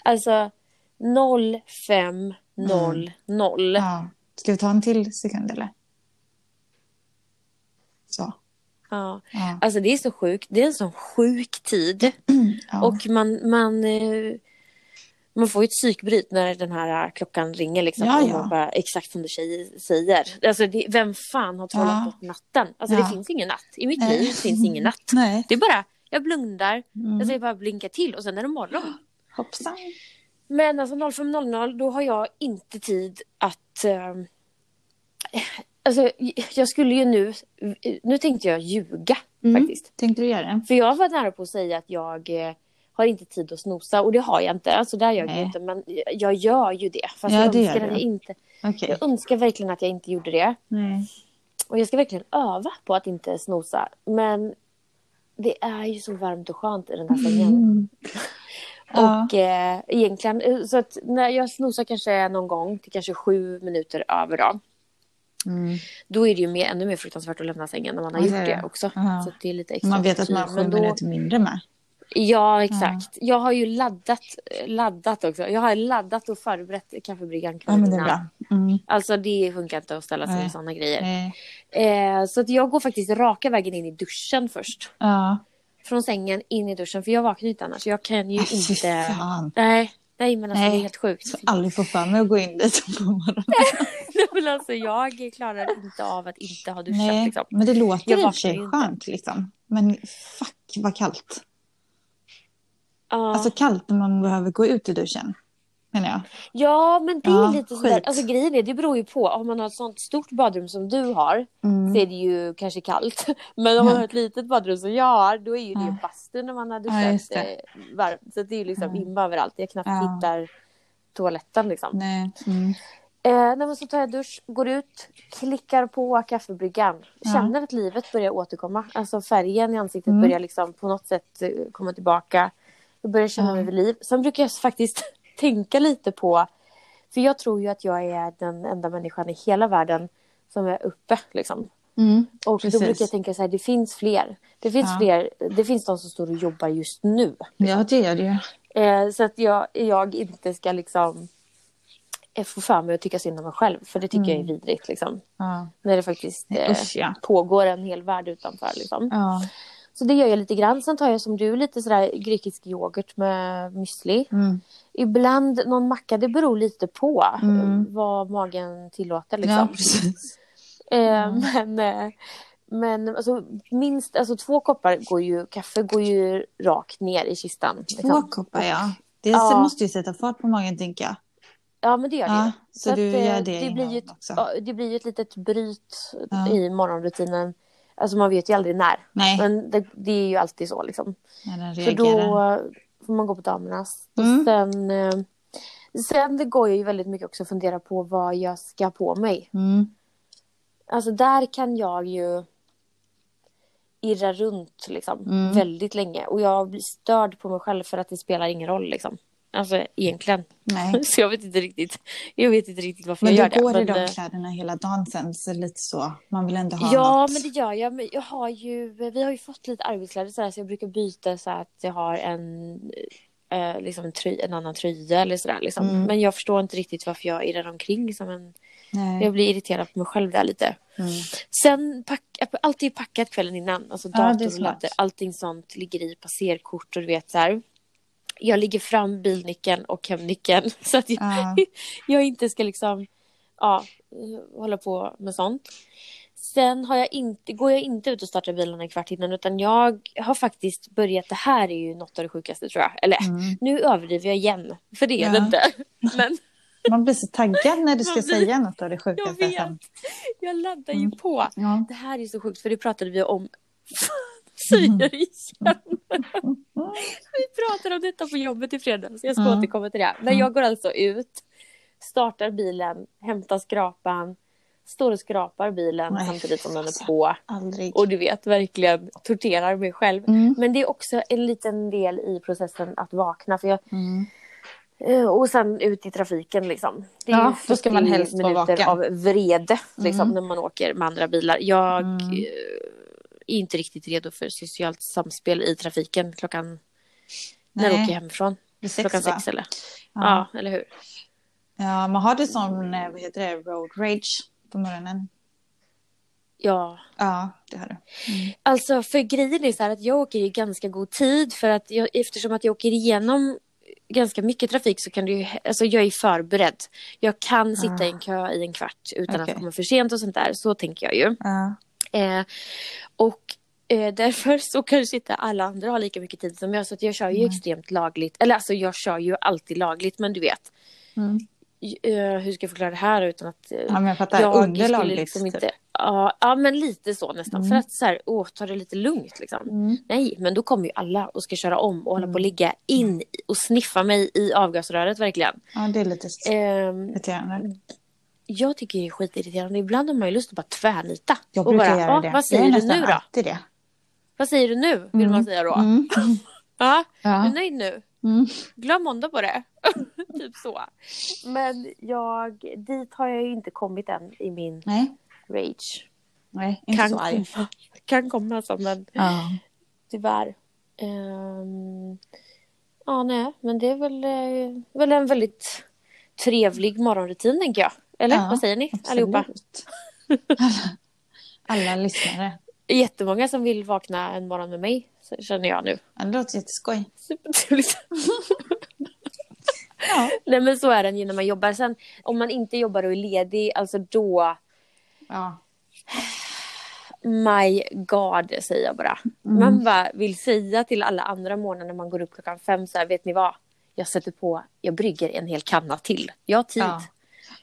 [SPEAKER 2] Alltså 05.00.
[SPEAKER 1] Mm. Ja. Ska vi ta en till sekund eller? Så.
[SPEAKER 2] Ja.
[SPEAKER 1] Ja.
[SPEAKER 2] Alltså det är så sjukt. Det är en sån sjuk tid.
[SPEAKER 1] Ja.
[SPEAKER 2] Och man, man, eh, man får ju ett psykbryt när den här eh, klockan ringer. Liksom,
[SPEAKER 1] Ja,
[SPEAKER 2] och
[SPEAKER 1] ja.
[SPEAKER 2] man bara, exakt som du tjej- säger. Alltså, det, vem fan har trollat
[SPEAKER 1] Ja.
[SPEAKER 2] bort natten? Alltså,
[SPEAKER 1] Ja.
[SPEAKER 2] Det finns ingen natt. I mitt
[SPEAKER 1] Nej.
[SPEAKER 2] liv finns ingen natt.
[SPEAKER 1] Nej.
[SPEAKER 2] Det är bara, jag blundar, alltså, jag
[SPEAKER 1] Mm.
[SPEAKER 2] säger bara blinka till och sen är det morgon.
[SPEAKER 1] Hoppsan.
[SPEAKER 2] Men alltså 05.00, då har jag inte tid att... Eh, alltså, jag skulle ju nu... Nu tänkte jag ljuga,
[SPEAKER 1] Mm.
[SPEAKER 2] faktiskt.
[SPEAKER 1] Tänkte du göra det?
[SPEAKER 2] För jag var nära på att säga att jag eh, har inte tid att snosa och det har jag inte. Alltså där gör jag
[SPEAKER 1] Nej.
[SPEAKER 2] ju inte men jag gör ju det. Fast
[SPEAKER 1] Ja,
[SPEAKER 2] jag,
[SPEAKER 1] det gör
[SPEAKER 2] önskar att
[SPEAKER 1] du.
[SPEAKER 2] jag, inte,
[SPEAKER 1] Okej.
[SPEAKER 2] jag önskar verkligen att jag inte gjorde det.
[SPEAKER 1] Nej.
[SPEAKER 2] Och jag ska verkligen öva på att inte snosa. Men det är ju så varmt och skönt i den här sängen.
[SPEAKER 1] Mm. Ja.
[SPEAKER 2] Och eh, egentligen, eh, så att när jag snosar kanske någon gång till kanske sju minuter över då.
[SPEAKER 1] Mm.
[SPEAKER 2] Då är det ju mer, ännu mer fruktansvärt att lämna sängen när man har
[SPEAKER 1] Ja,
[SPEAKER 2] gjort
[SPEAKER 1] det är
[SPEAKER 2] det
[SPEAKER 1] det.
[SPEAKER 2] också.
[SPEAKER 1] Ja.
[SPEAKER 2] Så att det är lite extra
[SPEAKER 1] Man vet att man har
[SPEAKER 2] tortyr, men
[SPEAKER 1] sju
[SPEAKER 2] då-
[SPEAKER 1] minuter mindre med.
[SPEAKER 2] Ja, exakt. Jag har ju laddat, laddat också. Jag har laddat och förberett kaffebryggan
[SPEAKER 1] Ja,
[SPEAKER 2] kvällen
[SPEAKER 1] men det är
[SPEAKER 2] innan.
[SPEAKER 1] bra. Mm.
[SPEAKER 2] Alltså det funkar inte att ställa sig
[SPEAKER 1] Nej.
[SPEAKER 2] med sådana grejer.
[SPEAKER 1] Nej.
[SPEAKER 2] Eh, så att jag går faktiskt raka vägen in i duschen först.
[SPEAKER 1] Ja.
[SPEAKER 2] Från sängen in i duschen, för jag vaknar ju inte annars. Jag kan ju
[SPEAKER 1] Äh, Fy
[SPEAKER 2] inte...
[SPEAKER 1] fan.
[SPEAKER 2] Nej, nej men alltså
[SPEAKER 1] Nej.
[SPEAKER 2] det är helt sjukt.
[SPEAKER 1] Jag har aldrig fått för mig att gå in dit på morgonen.
[SPEAKER 2] Nej, men alltså, jag klarar inte av att inte ha duschat
[SPEAKER 1] Nej,
[SPEAKER 2] liksom.
[SPEAKER 1] men det låter
[SPEAKER 2] Jag
[SPEAKER 1] i och för
[SPEAKER 2] vaknar
[SPEAKER 1] sig
[SPEAKER 2] ju inte.
[SPEAKER 1] skönt liksom. Men fuck vad kallt.
[SPEAKER 2] Ja,
[SPEAKER 1] Alltså kallt när man behöver gå ut i duschen. menar jag.
[SPEAKER 2] Ja, men det
[SPEAKER 1] Ja,
[SPEAKER 2] är lite sådär.
[SPEAKER 1] skit.
[SPEAKER 2] Alltså grejen är, det beror ju på. Om man har ett sånt stort badrum som du har
[SPEAKER 1] Mm.
[SPEAKER 2] så är det ju kanske kallt. Men om man har ett litet badrum som jag har då är ju det
[SPEAKER 1] Ja.
[SPEAKER 2] ju bastu när man har
[SPEAKER 1] Ja,
[SPEAKER 2] duschat
[SPEAKER 1] just det.
[SPEAKER 2] eh, varmt. Så det är ju liksom
[SPEAKER 1] Mm.
[SPEAKER 2] imma överallt. Jag knappt
[SPEAKER 1] Ja.
[SPEAKER 2] hittar toaletten liksom.
[SPEAKER 1] Nej. Mm.
[SPEAKER 2] Eh, nej, men så tar jag dusch, går ut, klickar på kaffebryggan.
[SPEAKER 1] Ja.
[SPEAKER 2] Känner att livet börjar återkomma. Alltså färgen i ansiktet
[SPEAKER 1] Mm.
[SPEAKER 2] börjar liksom på något sätt eh, komma tillbaka. Jag börjar känna
[SPEAKER 1] Ja.
[SPEAKER 2] mig vid liv. Sen brukar jag faktiskt tänka lite på... För jag tror ju att jag är den enda människan i hela världen som är uppe. Liksom.
[SPEAKER 1] Mm.
[SPEAKER 2] Och
[SPEAKER 1] Precis.
[SPEAKER 2] då brukar jag tänka så här, det finns fler. Det finns
[SPEAKER 1] Ja.
[SPEAKER 2] fler. Det finns de som står och jobbar just nu.
[SPEAKER 1] Ja, det är det ju.
[SPEAKER 2] Eh, så att jag, jag inte ska liksom eh, få för mig att tycka synd om mig själv. För det tycker jag är
[SPEAKER 1] Mm.
[SPEAKER 2] vidrigt. Liksom.
[SPEAKER 1] Ja.
[SPEAKER 2] När det faktiskt eh,
[SPEAKER 1] Usch, ja.
[SPEAKER 2] pågår en hel värld utanför. Liksom.
[SPEAKER 1] Ja.
[SPEAKER 2] Så det gör jag lite grann. Sen tar jag som du lite sådär grekisk yoghurt med müsli.
[SPEAKER 1] Mm.
[SPEAKER 2] Ibland någon macka. Det beror lite på
[SPEAKER 1] Mm.
[SPEAKER 2] eh, vad magen tillåter.
[SPEAKER 1] ja,
[SPEAKER 2] Liksom.
[SPEAKER 1] precis.
[SPEAKER 2] Eh,
[SPEAKER 1] Mm.
[SPEAKER 2] Men, eh, men alltså, minst alltså, två koppar går ju, kaffe går ju rakt ner i kistan.
[SPEAKER 1] Två koppar, ja. Det
[SPEAKER 2] Liksom. Ja.
[SPEAKER 1] måste ju sätta fart på magen, tänker jag.
[SPEAKER 2] Ja, men det gör det ju.
[SPEAKER 1] Ja, så,
[SPEAKER 2] att,
[SPEAKER 1] du
[SPEAKER 2] eh,
[SPEAKER 1] gör det,
[SPEAKER 2] det blir
[SPEAKER 1] innan
[SPEAKER 2] ju ett-
[SPEAKER 1] också.
[SPEAKER 2] Ja, det blir ju ett litet bryt
[SPEAKER 1] Ja.
[SPEAKER 2] i morgonrutinen. Alltså man vet ju aldrig när.
[SPEAKER 1] Nej,
[SPEAKER 2] Men det, det är ju alltid så liksom.
[SPEAKER 1] när den
[SPEAKER 2] Så då
[SPEAKER 1] reagerar.
[SPEAKER 2] får man gå på damernas.
[SPEAKER 1] Mm.
[SPEAKER 2] Och sen, eh, sen går jag ju väldigt mycket också att fundera på vad jag ska ha på mig.
[SPEAKER 1] Mm.
[SPEAKER 2] Alltså där kan jag ju irra runt liksom
[SPEAKER 1] Mm.
[SPEAKER 2] väldigt länge. Och jag blir störd på mig själv för att det spelar ingen roll liksom. Alltså egentligen.
[SPEAKER 1] Nej.
[SPEAKER 2] Så jag vet inte riktigt. Jag vet inte riktigt varför
[SPEAKER 1] Men
[SPEAKER 2] jag
[SPEAKER 1] du
[SPEAKER 2] gör det.
[SPEAKER 1] går i
[SPEAKER 2] Men, eh,
[SPEAKER 1] de kläderna hela dagen sen, så lite så. Man vill ändå ha
[SPEAKER 2] Ja,
[SPEAKER 1] något.
[SPEAKER 2] men det gör jag. Men jag har ju, vi har ju fått lite arbetskläder så, här, så jag brukar byta så att jag har en, eh, liksom en, tröj, en annan tröja eller sådär. Liksom.
[SPEAKER 1] Mm.
[SPEAKER 2] Men jag förstår inte riktigt varför jag irrar omkring. Som en,
[SPEAKER 1] Nej.
[SPEAKER 2] jag blir irriterad på mig själv där lite.
[SPEAKER 1] Mm.
[SPEAKER 2] Sen, pack, allt är ju packat kvällen innan. Alltså
[SPEAKER 1] Ja, det är
[SPEAKER 2] dator och
[SPEAKER 1] smart.
[SPEAKER 2] laddare, allting sånt ligger i passerkort och du vet så här. Jag lägger fram bilnyckeln och hemnyckeln så att jag,
[SPEAKER 1] Ja.
[SPEAKER 2] jag inte ska liksom, ja, eh, hålla på med sånt. Sen har jag inte, går jag inte ut och startar bilen en kvart innan utan jag har faktiskt börjat, det här är ju något av det sjukaste tror jag. Eller
[SPEAKER 1] Mm.
[SPEAKER 2] nu överdriver jag igen, för det är
[SPEAKER 1] Ja.
[SPEAKER 2] det inte. Men
[SPEAKER 1] Man blir så taggad när
[SPEAKER 2] Man
[SPEAKER 1] du ska
[SPEAKER 2] blir-
[SPEAKER 1] säga något av det
[SPEAKER 2] jag
[SPEAKER 1] sjukaste
[SPEAKER 2] vet,
[SPEAKER 1] sen.
[SPEAKER 2] jag laddar ju
[SPEAKER 1] Mm.
[SPEAKER 2] på.
[SPEAKER 1] Ja.
[SPEAKER 2] Det här är så sjukt för det pratade vi om.
[SPEAKER 1] Mm.
[SPEAKER 2] Säger det igen. Vi pratade om detta på jobbet i fredags. Jag ska
[SPEAKER 1] Mm.
[SPEAKER 2] återkomma till det. Men jag går alltså ut, startar bilen, hämtar skrapan, står och skrapar bilen
[SPEAKER 1] Nej,
[SPEAKER 2] samtidigt som den
[SPEAKER 1] alltså.
[SPEAKER 2] är på.
[SPEAKER 1] Aldrig.
[SPEAKER 2] Och du vet, verkligen torterar mig själv.
[SPEAKER 1] Mm.
[SPEAKER 2] Men det är också en liten del i processen att vakna. För jag,
[SPEAKER 1] Mm.
[SPEAKER 2] eh, och sen ut i trafiken liksom. Det är
[SPEAKER 1] Ja,
[SPEAKER 2] ju
[SPEAKER 1] då ska man
[SPEAKER 2] 40
[SPEAKER 1] helst vara
[SPEAKER 2] minuter
[SPEAKER 1] vaken.
[SPEAKER 2] av vrede liksom,
[SPEAKER 1] Mm.
[SPEAKER 2] när man åker med andra bilar. Jag
[SPEAKER 1] Mm.
[SPEAKER 2] eh, är inte riktigt redo för socialt samspel i trafiken klockan... När jag
[SPEAKER 1] Nej.
[SPEAKER 2] åker hemifrån.
[SPEAKER 1] Vid sex,
[SPEAKER 2] klockan
[SPEAKER 1] va?
[SPEAKER 2] sex eller?
[SPEAKER 1] Ja.
[SPEAKER 2] Ja. eller hur?
[SPEAKER 1] ja, man har det som, eh, vad heter det, road rage på morgonen.
[SPEAKER 2] Ja.
[SPEAKER 1] Ja, det har du.
[SPEAKER 2] Alltså för grejen är så här att jag åker i ganska god tid för att jag, eftersom att jag åker igenom ganska mycket trafik så kan det ju, alltså jag är förberedd. Jag kan sitta i en kö i en kvart utan
[SPEAKER 1] Ah. Okej.
[SPEAKER 2] att komma för sent och sånt där. Så tänker jag ju.
[SPEAKER 1] Ja.
[SPEAKER 2] Eh, och eh, därför så kanske inte alla andra har lika mycket tid som jag. Så att jag kör ju extremt lagligt. Eller alltså jag kör ju alltid lagligt men du vet.
[SPEAKER 1] Mm.
[SPEAKER 2] Eh, hur ska jag förklara det här utan att... eh,
[SPEAKER 1] ja, men jag fattar.
[SPEAKER 2] skulle
[SPEAKER 1] Underlagligt.
[SPEAKER 2] liksom
[SPEAKER 1] typ.
[SPEAKER 2] inte, ja, ja, men lite så nästan. För att så här, åh, ta det lite lugnt liksom.
[SPEAKER 1] Mm.
[SPEAKER 2] Nej, men då kommer ju alla och ska köra om och hålla på och ligga in i- och sniffa mig i avgasröret verkligen.
[SPEAKER 1] Ja, det är lite
[SPEAKER 2] Ehm,
[SPEAKER 1] irriterande.
[SPEAKER 2] jag tycker det är skitirriterande. Ibland har man ju lust att bara tvärnita.
[SPEAKER 1] Jag
[SPEAKER 2] och
[SPEAKER 1] brukar
[SPEAKER 2] bara,
[SPEAKER 1] göra
[SPEAKER 2] "Ah,
[SPEAKER 1] det.
[SPEAKER 2] Vad
[SPEAKER 1] jag
[SPEAKER 2] säger
[SPEAKER 1] är
[SPEAKER 2] du
[SPEAKER 1] nästan
[SPEAKER 2] nu då?
[SPEAKER 1] alltid det.
[SPEAKER 2] Vad säger du nu? Vill man säga då.
[SPEAKER 1] Mm.
[SPEAKER 2] Ja, är
[SPEAKER 1] Ja.
[SPEAKER 2] du nöjd nu?
[SPEAKER 1] Mm.
[SPEAKER 2] Glöm måndag på det. typ så. Men jag, dit har jag ju inte kommit än i min
[SPEAKER 1] Nej,
[SPEAKER 2] rage.
[SPEAKER 1] nej, inte
[SPEAKER 2] kan,
[SPEAKER 1] så arg.
[SPEAKER 2] komma, kan komma alltså, men
[SPEAKER 1] Ja.
[SPEAKER 2] tyvärr. Ehm, ja, nej, men det är väl, eh, väl en väldigt trevlig morgonrutin, tänker jag. Eller
[SPEAKER 1] Ja,
[SPEAKER 2] vad säger ni
[SPEAKER 1] absolut.
[SPEAKER 2] allihopa?
[SPEAKER 1] Alla, alla lyssnare.
[SPEAKER 2] Jättemånga som vill vakna en morgon med mig, så känner jag nu.
[SPEAKER 1] Ja, det låter jätteskoj.
[SPEAKER 2] Supertrevligt.
[SPEAKER 1] Ja.
[SPEAKER 2] nej, men så är den ju när man jobbar. Sen om man inte jobbar och är ledig, alltså då,
[SPEAKER 1] ja.
[SPEAKER 2] my god, säger jag bara.
[SPEAKER 1] Mm.
[SPEAKER 2] Man bara vill säga till alla andra morgnar när man går upp klockan fem, så här, vet ni vad? jag sätter på, jag brygger en hel kanna till. Jag har tid. Ja.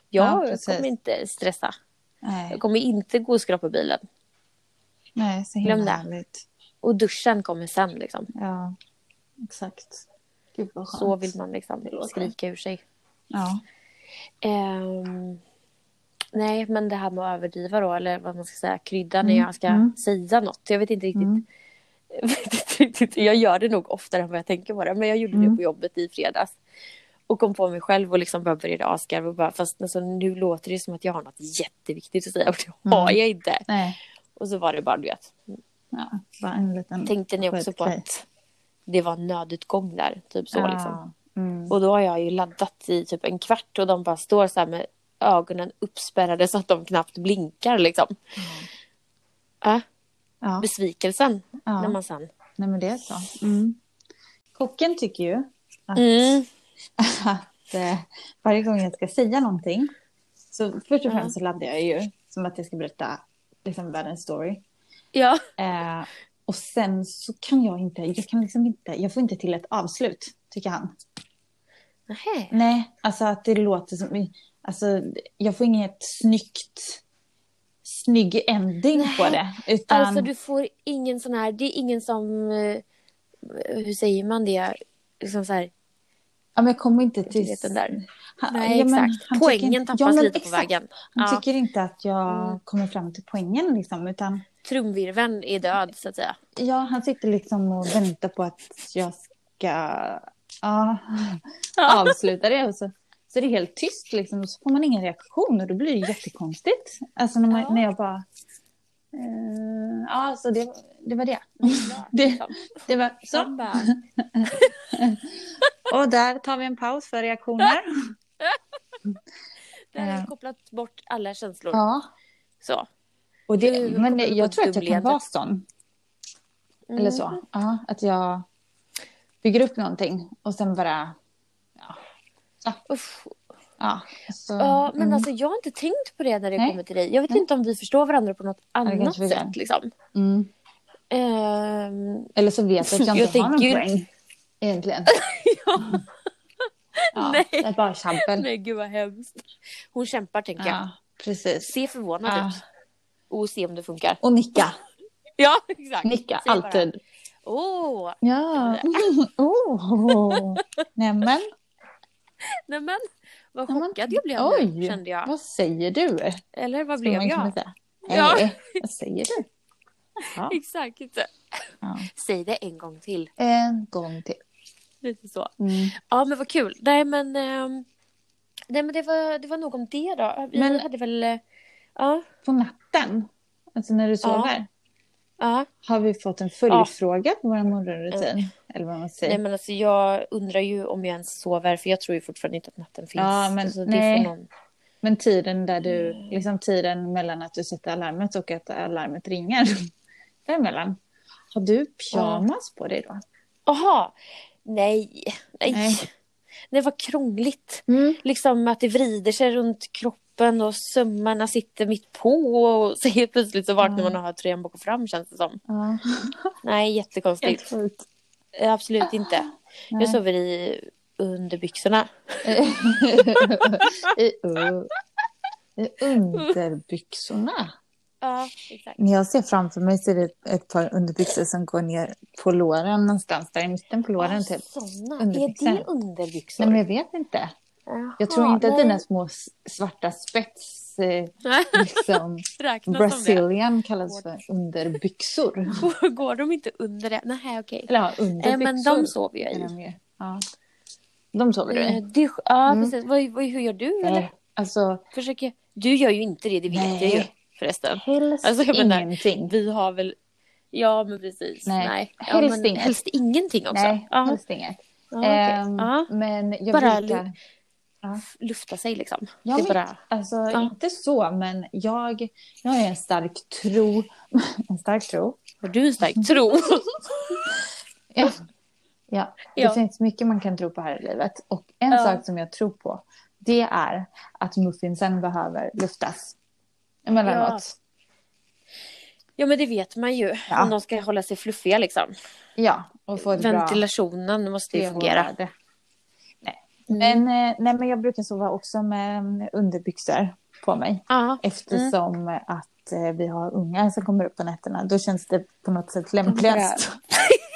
[SPEAKER 2] Jag,
[SPEAKER 1] Ja,
[SPEAKER 2] jag
[SPEAKER 1] precis.
[SPEAKER 2] kommer inte stressa.
[SPEAKER 1] Nej,
[SPEAKER 2] Jag kommer inte gå och skrapa bilen.
[SPEAKER 1] nej så
[SPEAKER 2] Glöm
[SPEAKER 1] himla
[SPEAKER 2] det.
[SPEAKER 1] härligt.
[SPEAKER 2] Och duschen kommer sen liksom.
[SPEAKER 1] Ja, exakt. Gud vad skönt.
[SPEAKER 2] Så vill man
[SPEAKER 1] Det
[SPEAKER 2] liksom
[SPEAKER 1] låter.
[SPEAKER 2] skrika ur sig.
[SPEAKER 1] Ja.
[SPEAKER 2] Ehm, nej, men det här med att överdriva då, eller vad man ska säga, krydda när
[SPEAKER 1] Mm,
[SPEAKER 2] jag ska
[SPEAKER 1] mm.
[SPEAKER 2] säga något. Jag vet inte riktigt.
[SPEAKER 1] Mm.
[SPEAKER 2] Jag vet inte riktigt. Jag gör det nog oftare än vad jag tänker på det, men jag gjorde det
[SPEAKER 1] Mm.
[SPEAKER 2] på jobbet i fredags. Och kom på mig själv och liksom bara började asgarva och bara, fast alltså, nu låter det som att jag har något jätteviktigt att säga och det har
[SPEAKER 1] Mm.
[SPEAKER 2] jag inte.
[SPEAKER 1] Nej,
[SPEAKER 2] Och så var det bara, du vet.
[SPEAKER 1] ja, bara en liten...
[SPEAKER 2] Tänkte ni också på
[SPEAKER 1] Skitgrej.
[SPEAKER 2] att det var en nödutgång där, typ så
[SPEAKER 1] ja.
[SPEAKER 2] liksom.
[SPEAKER 1] Mm.
[SPEAKER 2] Och då har jag ju laddat i typ en kvart och de bara står så här med ögonen uppspärrade så att de knappt blinkar liksom.
[SPEAKER 1] Mm.
[SPEAKER 2] Äh,
[SPEAKER 1] Ja,
[SPEAKER 2] besvikelsen
[SPEAKER 1] ja.
[SPEAKER 2] när man sen...
[SPEAKER 1] Nej, men det är så. Mm. Kocken tycker ju att,
[SPEAKER 2] Mm,
[SPEAKER 1] att eh, varje gång jag ska säga någonting så först
[SPEAKER 2] Mm.
[SPEAKER 1] och främst så laddar jag ju som att jag ska berätta liksom, världens story.
[SPEAKER 2] ja.
[SPEAKER 1] Eh, och sen så kan jag inte, jag kan liksom inte, jag får inte till ett avslut, tycker han.
[SPEAKER 2] Nähä.
[SPEAKER 1] Nej, alltså att det låter som, alltså jag får inget snyggt, snygg ending på det. Utan,
[SPEAKER 2] Alltså du får ingen sån här... Det är ingen som... eh, Hur säger man det? Liksom så här...
[SPEAKER 1] ja, men jag kommer inte till...
[SPEAKER 2] vet den där.
[SPEAKER 1] Han-
[SPEAKER 2] Nej,
[SPEAKER 1] ja, men
[SPEAKER 2] exakt.
[SPEAKER 1] han
[SPEAKER 2] Poängen
[SPEAKER 1] tycker inte-
[SPEAKER 2] tappas
[SPEAKER 1] ja, men
[SPEAKER 2] lite på
[SPEAKER 1] exakt.
[SPEAKER 2] vägen.
[SPEAKER 1] Han
[SPEAKER 2] Ja.
[SPEAKER 1] tycker inte att jag
[SPEAKER 2] Mm.
[SPEAKER 1] kommer fram till poängen liksom, utan
[SPEAKER 2] Trumvirveln är död, så att säga.
[SPEAKER 1] ja, han sitter liksom och väntar på att jag ska ja, avsluta det. Och så, så är det helt tyst liksom, och så får man ingen reaktion och då blir det jättekonstigt. Alltså när, man,
[SPEAKER 2] Ja.
[SPEAKER 1] när jag bara... eh, ja, så det, det var det. Det,
[SPEAKER 2] Liksom.
[SPEAKER 1] det var
[SPEAKER 2] Som
[SPEAKER 1] så.
[SPEAKER 2] bara...
[SPEAKER 1] Och där tar vi en paus för reaktioner.
[SPEAKER 2] Där har jag
[SPEAKER 1] Eh.
[SPEAKER 2] kopplat bort alla känslor.
[SPEAKER 1] Ja.
[SPEAKER 2] Så.
[SPEAKER 1] Och det,
[SPEAKER 2] Hur
[SPEAKER 1] men
[SPEAKER 2] kommer du
[SPEAKER 1] jag
[SPEAKER 2] på
[SPEAKER 1] tror att jag kan
[SPEAKER 2] dubbelheten?
[SPEAKER 1] vara sån.
[SPEAKER 2] Mm.
[SPEAKER 1] Eller så. Ja, att jag bygger upp någonting och sen bara... Ja. Så.
[SPEAKER 2] Usch,
[SPEAKER 1] ja, så,
[SPEAKER 2] Ja, men
[SPEAKER 1] mm.
[SPEAKER 2] alltså jag har inte tänkt på det när det
[SPEAKER 1] Nej.
[SPEAKER 2] kommer till dig. Jag vet
[SPEAKER 1] Nej.
[SPEAKER 2] inte om vi förstår varandra på något
[SPEAKER 1] det
[SPEAKER 2] annat
[SPEAKER 1] kanske vi gör.
[SPEAKER 2] sätt. Liksom.
[SPEAKER 1] Mm.
[SPEAKER 2] Ehm,
[SPEAKER 1] Eller så vet jag att jag
[SPEAKER 2] Jag
[SPEAKER 1] inte har någon
[SPEAKER 2] tänker-
[SPEAKER 1] poäng. Egentligen. ja,
[SPEAKER 2] Nej.
[SPEAKER 1] Det är bara tjabbel.
[SPEAKER 2] nej, gud vad hemskt. Hon kämpar, tänker jag.
[SPEAKER 1] Ja, precis.
[SPEAKER 2] Se förvånad
[SPEAKER 1] Ja.
[SPEAKER 2] ut och se om det funkar.
[SPEAKER 1] Och nicka.
[SPEAKER 2] Ja, exakt.
[SPEAKER 1] Nicka,
[SPEAKER 2] Säg bara,
[SPEAKER 1] alltid.
[SPEAKER 2] Åh,
[SPEAKER 1] Ja. Oh. Nämen,
[SPEAKER 2] nämen. Vad
[SPEAKER 1] Nämen.
[SPEAKER 2] chockad jag blev nu,
[SPEAKER 1] Oj.
[SPEAKER 2] kände jag.
[SPEAKER 1] vad säger du? Skulle
[SPEAKER 2] Eller vad
[SPEAKER 1] man
[SPEAKER 2] blev
[SPEAKER 1] kunna
[SPEAKER 2] jag?
[SPEAKER 1] säga.
[SPEAKER 2] Ja.
[SPEAKER 1] Hej, vad säger du? Ja.
[SPEAKER 2] Exakt.
[SPEAKER 1] Ja.
[SPEAKER 2] Säg det en gång till.
[SPEAKER 1] En gång till.
[SPEAKER 2] Lite så.
[SPEAKER 1] Mm.
[SPEAKER 2] Ja, men vad kul. Nej, men, ehm, nej, men det, var, det var nog om det då. Vi
[SPEAKER 1] Men-
[SPEAKER 2] hade väl... eh, Ja,
[SPEAKER 1] På natten, alltså när du sover,
[SPEAKER 2] ja.
[SPEAKER 1] har vi fått en följdfråga på vår morgonrutin.
[SPEAKER 2] Eh.
[SPEAKER 1] Eller vad man säger.
[SPEAKER 2] Nej men alltså jag undrar ju om jag ens sover för jag tror ju fortfarande inte att natten finns.
[SPEAKER 1] Ja, men
[SPEAKER 2] alltså,
[SPEAKER 1] nej.
[SPEAKER 2] får någon...
[SPEAKER 1] Men tiden där du, liksom tiden mellan att du sätter alarmet och att alarmet ringer. Däremellan. Har du pyjamas på dig då?
[SPEAKER 2] Aha! Nej, nej.
[SPEAKER 1] Nej.
[SPEAKER 2] Nej det var krångligt.
[SPEAKER 1] Mm.
[SPEAKER 2] Liksom att det vrider sig runt kroppen och sömmarna sitter mitt på och så helt plötsligt så vaknar
[SPEAKER 1] Ja.
[SPEAKER 2] man och har tröjan bak och fram känns det som.
[SPEAKER 1] Ja,
[SPEAKER 2] Nej
[SPEAKER 1] helt
[SPEAKER 2] jättekonstigt.
[SPEAKER 1] sjukt.
[SPEAKER 2] Eh, Absolut inte.
[SPEAKER 1] Nej.
[SPEAKER 2] Jag sover i underbyxorna.
[SPEAKER 1] I, uh, I underbyxorna.
[SPEAKER 2] Ja, exakt.
[SPEAKER 1] När jag ser framför mig så är det ett par underbyxor som går ner på låren någonstans, där i mitten på låren typ.
[SPEAKER 2] Såna. Är
[SPEAKER 1] Underbyxor.
[SPEAKER 2] det underbyxor?
[SPEAKER 1] Nej, men jag vet inte. Jag tror
[SPEAKER 2] Jaha,
[SPEAKER 1] inte att
[SPEAKER 2] nej.
[SPEAKER 1] dina små s- svarta spets, eh, liksom
[SPEAKER 2] Räknas som det?
[SPEAKER 1] Brazilian kallas för underbyxor.
[SPEAKER 2] Går- Går de inte under det? Nej, okej.
[SPEAKER 1] Eller ja, underbyxor.
[SPEAKER 2] Eh, men de sover jag
[SPEAKER 1] är
[SPEAKER 2] i.
[SPEAKER 1] de ju. Ja. De sover du
[SPEAKER 2] Eh,
[SPEAKER 1] i?
[SPEAKER 2] Du, ja,
[SPEAKER 1] Mm.
[SPEAKER 2] precis. Vad, vad, hur gör du? Eller?
[SPEAKER 1] Nej, alltså
[SPEAKER 2] Försöker... Du gör ju inte det, det vet
[SPEAKER 1] Nej.
[SPEAKER 2] jag ju förresten.
[SPEAKER 1] helst
[SPEAKER 2] Alltså, jag menar,
[SPEAKER 1] ingenting.
[SPEAKER 2] Vi har väl... Ja, men precis.
[SPEAKER 1] Nej.
[SPEAKER 2] Nej. Ja,
[SPEAKER 1] Helst
[SPEAKER 2] men,
[SPEAKER 1] inget.
[SPEAKER 2] helst ingenting också.
[SPEAKER 1] Nej,
[SPEAKER 2] ja.
[SPEAKER 1] helst inget.
[SPEAKER 2] Ja, okej.
[SPEAKER 1] Ehm,
[SPEAKER 2] Ja.
[SPEAKER 1] Men jag
[SPEAKER 2] Bara
[SPEAKER 1] brukar...
[SPEAKER 2] Lufta sig liksom.
[SPEAKER 1] Ja,
[SPEAKER 2] det
[SPEAKER 1] men-
[SPEAKER 2] är bara...
[SPEAKER 1] Alltså,
[SPEAKER 2] Ja.
[SPEAKER 1] inte så, men jag, jag har ju en stark tro. En stark tro?
[SPEAKER 2] Har du en
[SPEAKER 1] Mm.
[SPEAKER 2] stark tro?
[SPEAKER 1] Ja. ja. Det
[SPEAKER 2] Ja.
[SPEAKER 1] finns mycket man kan tro på här i livet. Och en
[SPEAKER 2] Ja.
[SPEAKER 1] sak som jag tror på, det är att muffinsen behöver luftas. Emellanåt.
[SPEAKER 2] ja, men det vet man ju.
[SPEAKER 1] Ja.
[SPEAKER 2] Om de ska hålla sig fluffiga liksom.
[SPEAKER 1] Ja, och få ett bra
[SPEAKER 2] Ventilationen måste ju Mm.
[SPEAKER 1] pH-värde.
[SPEAKER 2] fungera.
[SPEAKER 1] Men, eh, nej, men jag brukar sova också med mm, underbyxor på mig.
[SPEAKER 2] Ja.
[SPEAKER 1] Eftersom att eh, vi har ungar som kommer upp på nätterna. Då känns det på något sätt lämpligast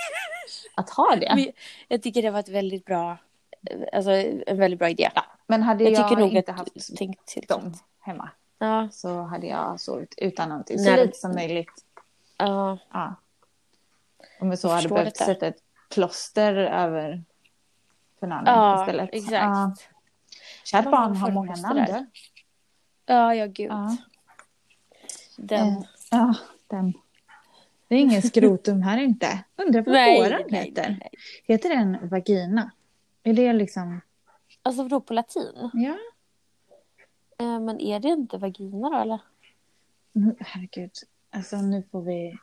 [SPEAKER 1] att ha det.
[SPEAKER 2] Men Jag tycker det var ett väldigt bra, alltså en väldigt bra idé.
[SPEAKER 1] Men hade
[SPEAKER 2] Jag
[SPEAKER 1] jag,
[SPEAKER 2] tycker nog
[SPEAKER 1] inte
[SPEAKER 2] att
[SPEAKER 1] haft
[SPEAKER 2] du tänkt till
[SPEAKER 1] dem hemma
[SPEAKER 2] Ja,
[SPEAKER 1] så hade jag sovit utan någonting. Så
[SPEAKER 2] Nej.
[SPEAKER 1] lite som möjligt.
[SPEAKER 2] ja.
[SPEAKER 1] Ja. Om vi så hade
[SPEAKER 2] förstår
[SPEAKER 1] behövt
[SPEAKER 2] detta.
[SPEAKER 1] sätta ett plåster över för namn
[SPEAKER 2] Ja,
[SPEAKER 1] istället.
[SPEAKER 2] exakt.
[SPEAKER 1] Ja. Kärt
[SPEAKER 2] Man
[SPEAKER 1] barn
[SPEAKER 2] får
[SPEAKER 1] har många
[SPEAKER 2] plåster
[SPEAKER 1] namn.
[SPEAKER 2] där.
[SPEAKER 1] du.
[SPEAKER 2] Ja, ja gud.
[SPEAKER 1] Ja.
[SPEAKER 2] Den.
[SPEAKER 1] Eh, Ja, den. Det är ingen skrotum här inte. Undrar vad
[SPEAKER 2] Nej,
[SPEAKER 1] våran
[SPEAKER 2] nej,
[SPEAKER 1] heter.
[SPEAKER 2] nej, nej.
[SPEAKER 1] Heter den vagina? Är det liksom...
[SPEAKER 2] Alltså vadå på latin?
[SPEAKER 1] Ja.
[SPEAKER 2] Eh, Men är det inte vagina då eller?
[SPEAKER 1] Mm, Herregud. Alltså nu får vi...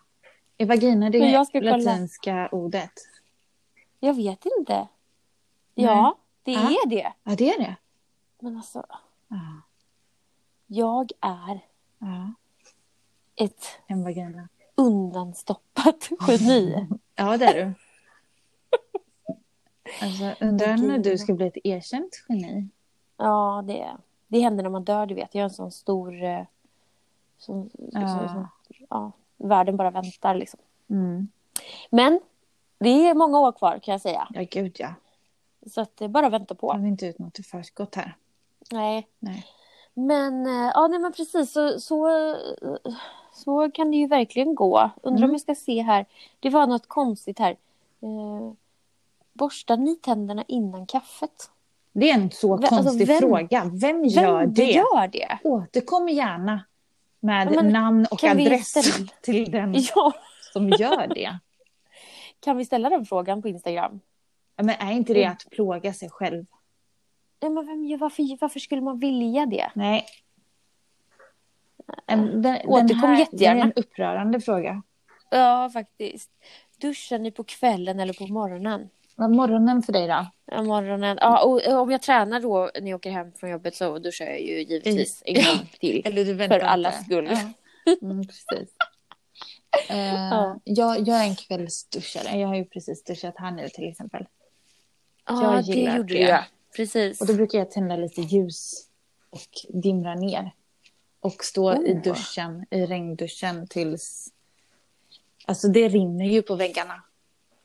[SPEAKER 1] Är vagina det
[SPEAKER 2] Men jag ska kolla.
[SPEAKER 1] latinska ordet?
[SPEAKER 2] Jag vet inte. Ja, det
[SPEAKER 1] Ja.
[SPEAKER 2] är det.
[SPEAKER 1] Ja, det är det.
[SPEAKER 2] Men alltså,
[SPEAKER 1] Ja.
[SPEAKER 2] jag är
[SPEAKER 1] ja.
[SPEAKER 2] ett
[SPEAKER 1] En vagina.
[SPEAKER 2] undanstoppat geni.
[SPEAKER 1] Ja, det är du. Alltså, undrar när
[SPEAKER 2] Vagina.
[SPEAKER 1] du ska bli ett erkänt geni.
[SPEAKER 2] Ja, det, det händer när man dör, du vet. Jag är en sån stor... eh, Sån,
[SPEAKER 1] Ja.
[SPEAKER 2] sån, sån, ja, världen bara väntar liksom.
[SPEAKER 1] Mm.
[SPEAKER 2] Men det är många år kvar kan jag säga.
[SPEAKER 1] Ja, gud ja.
[SPEAKER 2] Så att det är bara att vänta på.
[SPEAKER 1] Jag vill inte ut något i förskott här.
[SPEAKER 2] Nej.
[SPEAKER 1] Nej.
[SPEAKER 2] Men, eh, ja, nej, men precis. Så, så, eh, så kan det ju verkligen gå. Undrar om
[SPEAKER 1] Mm.
[SPEAKER 2] jag ska se här. Det var något konstigt här. Eh, borstar ni tänderna innan kaffet?
[SPEAKER 1] Det är en så
[SPEAKER 2] Vem- alltså,
[SPEAKER 1] konstig
[SPEAKER 2] vem-
[SPEAKER 1] fråga. Vem gör
[SPEAKER 2] Vem
[SPEAKER 1] det?
[SPEAKER 2] gör det?
[SPEAKER 1] Återkom gärna med
[SPEAKER 2] Ja, men
[SPEAKER 1] namn och
[SPEAKER 2] kan vi
[SPEAKER 1] adress
[SPEAKER 2] ställa-
[SPEAKER 1] till den
[SPEAKER 2] Ja,
[SPEAKER 1] som gör det.
[SPEAKER 2] kan vi ställa den frågan på Instagram?
[SPEAKER 1] Ja, Men är inte det att plåga sig själv?
[SPEAKER 2] Ja, men vem, gör- varför, varför skulle man vilja det?
[SPEAKER 1] Nej. Den, den
[SPEAKER 2] Återkom
[SPEAKER 1] här,
[SPEAKER 2] jättegärna.
[SPEAKER 1] Det är en upprörande fråga.
[SPEAKER 2] Ja, faktiskt. Duschar ni på kvällen eller på morgonen?
[SPEAKER 1] Vad är morgonen för dig då?
[SPEAKER 2] Ja, morgonen. Ja, och, och om jag tränar då när jag åker hem från jobbet så duschar jag ju givetvis en gång till.
[SPEAKER 1] Eller du
[SPEAKER 2] För allas skull.
[SPEAKER 1] Ja. Mm, precis. Eh,
[SPEAKER 2] Ja.
[SPEAKER 1] jag, jag är en kvällsduschare. Jag har ju precis duschat här nu till exempel.
[SPEAKER 2] Ja,
[SPEAKER 1] jag
[SPEAKER 2] det
[SPEAKER 1] gillar
[SPEAKER 2] gjorde
[SPEAKER 1] det.
[SPEAKER 2] du. ja. Precis.
[SPEAKER 1] Och då brukar jag tända lite ljus och dimra ner. Och stå i
[SPEAKER 2] Oh.
[SPEAKER 1] duschen, i regnduschen tills... Alltså det rinner ju på väggarna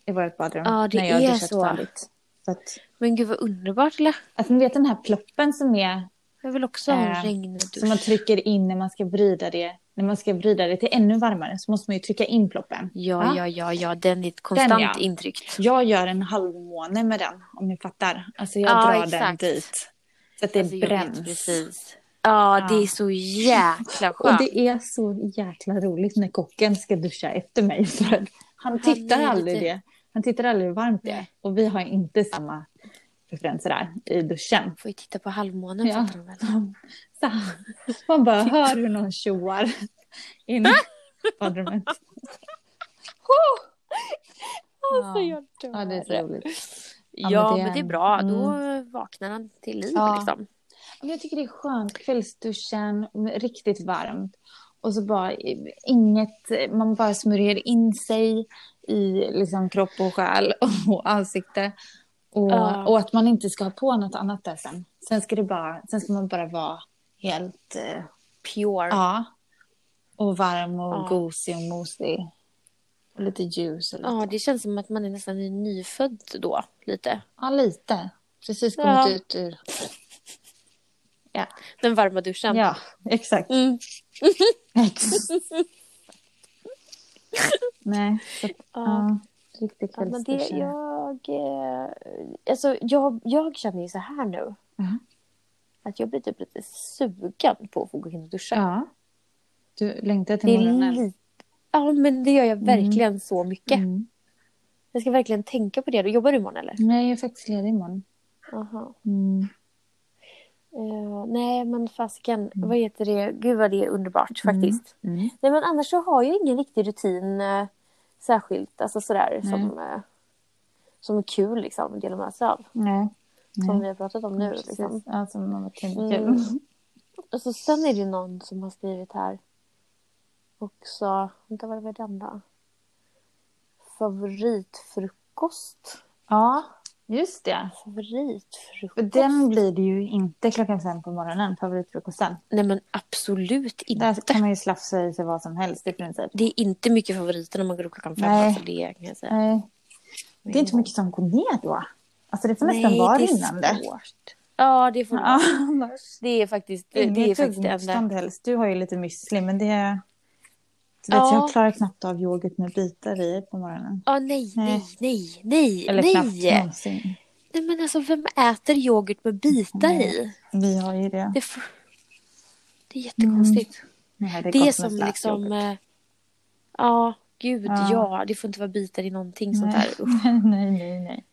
[SPEAKER 1] i vårt badrum.
[SPEAKER 2] Ja, det
[SPEAKER 1] när jag har
[SPEAKER 2] är
[SPEAKER 1] duschat
[SPEAKER 2] så.
[SPEAKER 1] färdigt. Så att,
[SPEAKER 2] Men gud vad underbart. Eller?
[SPEAKER 1] alltså ni vet den här ploppen som är...
[SPEAKER 2] Jag vill också ha en
[SPEAKER 1] Eh,
[SPEAKER 2] regndusch.
[SPEAKER 1] Som man trycker in när man ska vrida det. När man ska vrida det till ännu varmare så måste man ju trycka in ploppen.
[SPEAKER 2] Ja, ja, ja, ja. Den är ett konstant
[SPEAKER 1] Den, ja.
[SPEAKER 2] intryckt.
[SPEAKER 1] Jag gör en halvmåne med den, om ni fattar. Alltså jag
[SPEAKER 2] Ja,
[SPEAKER 1] drar
[SPEAKER 2] exakt.
[SPEAKER 1] den dit. Så att det
[SPEAKER 2] Alltså, jag vet
[SPEAKER 1] bränns.
[SPEAKER 2] Precis. Ja,
[SPEAKER 1] Ja.
[SPEAKER 2] det är så jäkla
[SPEAKER 1] Och
[SPEAKER 2] skönt.
[SPEAKER 1] det är så jäkla roligt när kocken ska duscha efter mig. För att han tittar
[SPEAKER 2] är
[SPEAKER 1] aldrig
[SPEAKER 2] lite-
[SPEAKER 1] det. Han tittar aldrig hur varmt det är. Och vi har inte samma preferenser där i duschen.
[SPEAKER 2] Får ju titta på halvmånen
[SPEAKER 1] Ja.
[SPEAKER 2] fattar de väl.
[SPEAKER 1] Så man bara hör hur någon tjoar in i badrummet.
[SPEAKER 2] Alltså,
[SPEAKER 1] Ja.
[SPEAKER 2] jag dör.
[SPEAKER 1] Ja, det är så roligt.
[SPEAKER 2] Ja,
[SPEAKER 1] Ja,
[SPEAKER 2] men
[SPEAKER 1] men det är Mm.
[SPEAKER 2] det är
[SPEAKER 1] en-
[SPEAKER 2] bra. Då vaknar han till liv
[SPEAKER 1] Ja.
[SPEAKER 2] liksom.
[SPEAKER 1] Men jag tycker det är skönt. Kvällsduschen, riktigt varmt. Och så bara eh, inget, man bara smörjer in sig i liksom kropp och själ och ansikte. Och,
[SPEAKER 2] Ja.
[SPEAKER 1] och att man inte ska ha på något annat där sen. Sen ska, det bara, sen ska man bara vara helt, eh,
[SPEAKER 2] Pure.
[SPEAKER 1] ja. Och varm och
[SPEAKER 2] Ja.
[SPEAKER 1] gosig och mosig. Och lite ljus och lite.
[SPEAKER 2] Ja, det känns som att man är nästan är nyfödd då, lite.
[SPEAKER 1] Ja, lite. Precis kommit
[SPEAKER 2] Ja.
[SPEAKER 1] ut ur... Ja,
[SPEAKER 2] Den varma duschen.
[SPEAKER 1] ja exakt.
[SPEAKER 2] Mm.
[SPEAKER 1] Nej, så, att,
[SPEAKER 2] Ja.
[SPEAKER 1] ja, riktig
[SPEAKER 2] Ja, men det,
[SPEAKER 1] kvällsdusch. Ja.
[SPEAKER 2] jag, eh, alltså, jag, jag känner ju så här nu.
[SPEAKER 1] Mhm.
[SPEAKER 2] Att jag blir typ lite sugen på att få gå in och duscha.
[SPEAKER 1] Du längtar till
[SPEAKER 2] det är
[SPEAKER 1] morgonen.
[SPEAKER 2] lite, ja, men det gör jag verkligen så mycket.
[SPEAKER 1] Mm.
[SPEAKER 2] Jag ska verkligen tänka på det. Du jobbar du imorgon eller?
[SPEAKER 1] Nej, jag är faktiskt ledig imorgon.
[SPEAKER 2] Aha.
[SPEAKER 1] Mm.
[SPEAKER 2] Eh, nej, men fasiken. Vad heter det? Gud vad det är underbart faktiskt.
[SPEAKER 1] Mm.
[SPEAKER 2] Nej, men annars så har jag ingen riktig rutin eh, särskilt. Alltså sådär som, eh, som är kul liksom att dela med sig av.
[SPEAKER 1] Nej.
[SPEAKER 2] Som
[SPEAKER 1] Nej. Mm,
[SPEAKER 2] vi har pratat om nu.
[SPEAKER 1] Precis.
[SPEAKER 2] Liksom.
[SPEAKER 1] Ja, som man var tänkt.
[SPEAKER 2] Mm. Och så Alltså, sen är det någon som har skrivit här också. Vänta, vad var det den då? Favoritfrukost.
[SPEAKER 1] Ja, Just det. För
[SPEAKER 2] Favoritfrukost?
[SPEAKER 1] den blir det ju inte klockan fem på morgonen, favoritfrukosten.
[SPEAKER 2] Nej men absolut inte.
[SPEAKER 1] Där kan man ju slafsa i sig vad som helst i princip.
[SPEAKER 2] Det är inte mycket favoriter när man går upp klockan fem.
[SPEAKER 1] Nej.
[SPEAKER 2] Alltså det kan jag säga.
[SPEAKER 1] Nej, det är inte så mycket som går ner då. Alltså det får
[SPEAKER 2] Nej,
[SPEAKER 1] nästan vara
[SPEAKER 2] det är
[SPEAKER 1] rinnande.
[SPEAKER 2] svårt. Ja, det får
[SPEAKER 1] Ja,
[SPEAKER 2] Det är faktiskt det, det är
[SPEAKER 1] Inget
[SPEAKER 2] faktiskt det enda.
[SPEAKER 1] tuggmotstånd helst. Du har ju lite müsli, men det... är- Du vet,
[SPEAKER 2] Ja.
[SPEAKER 1] Jag klarar knappt av yoghurt med bitar i på morgonen.
[SPEAKER 2] Ja, nej, nej,
[SPEAKER 1] Nej.
[SPEAKER 2] nej, nej,
[SPEAKER 1] Eller knappt
[SPEAKER 2] nej.
[SPEAKER 1] någonsin.
[SPEAKER 2] nej. Men alltså vem äter yoghurt med bitar
[SPEAKER 1] Mm.
[SPEAKER 2] i?
[SPEAKER 1] Vi har ju det.
[SPEAKER 2] Det, f- det är
[SPEAKER 1] Mm.
[SPEAKER 2] jättekonstigt.
[SPEAKER 1] Nej,
[SPEAKER 2] Det, är
[SPEAKER 1] gott med
[SPEAKER 2] som
[SPEAKER 1] slät
[SPEAKER 2] liksom...
[SPEAKER 1] yoghurt.
[SPEAKER 2] eh, Ja, gud ja.
[SPEAKER 1] Ja.
[SPEAKER 2] Det får inte vara bitar i någonting sånt
[SPEAKER 1] Nej.
[SPEAKER 2] där. Usch,
[SPEAKER 1] nej, nej, nej.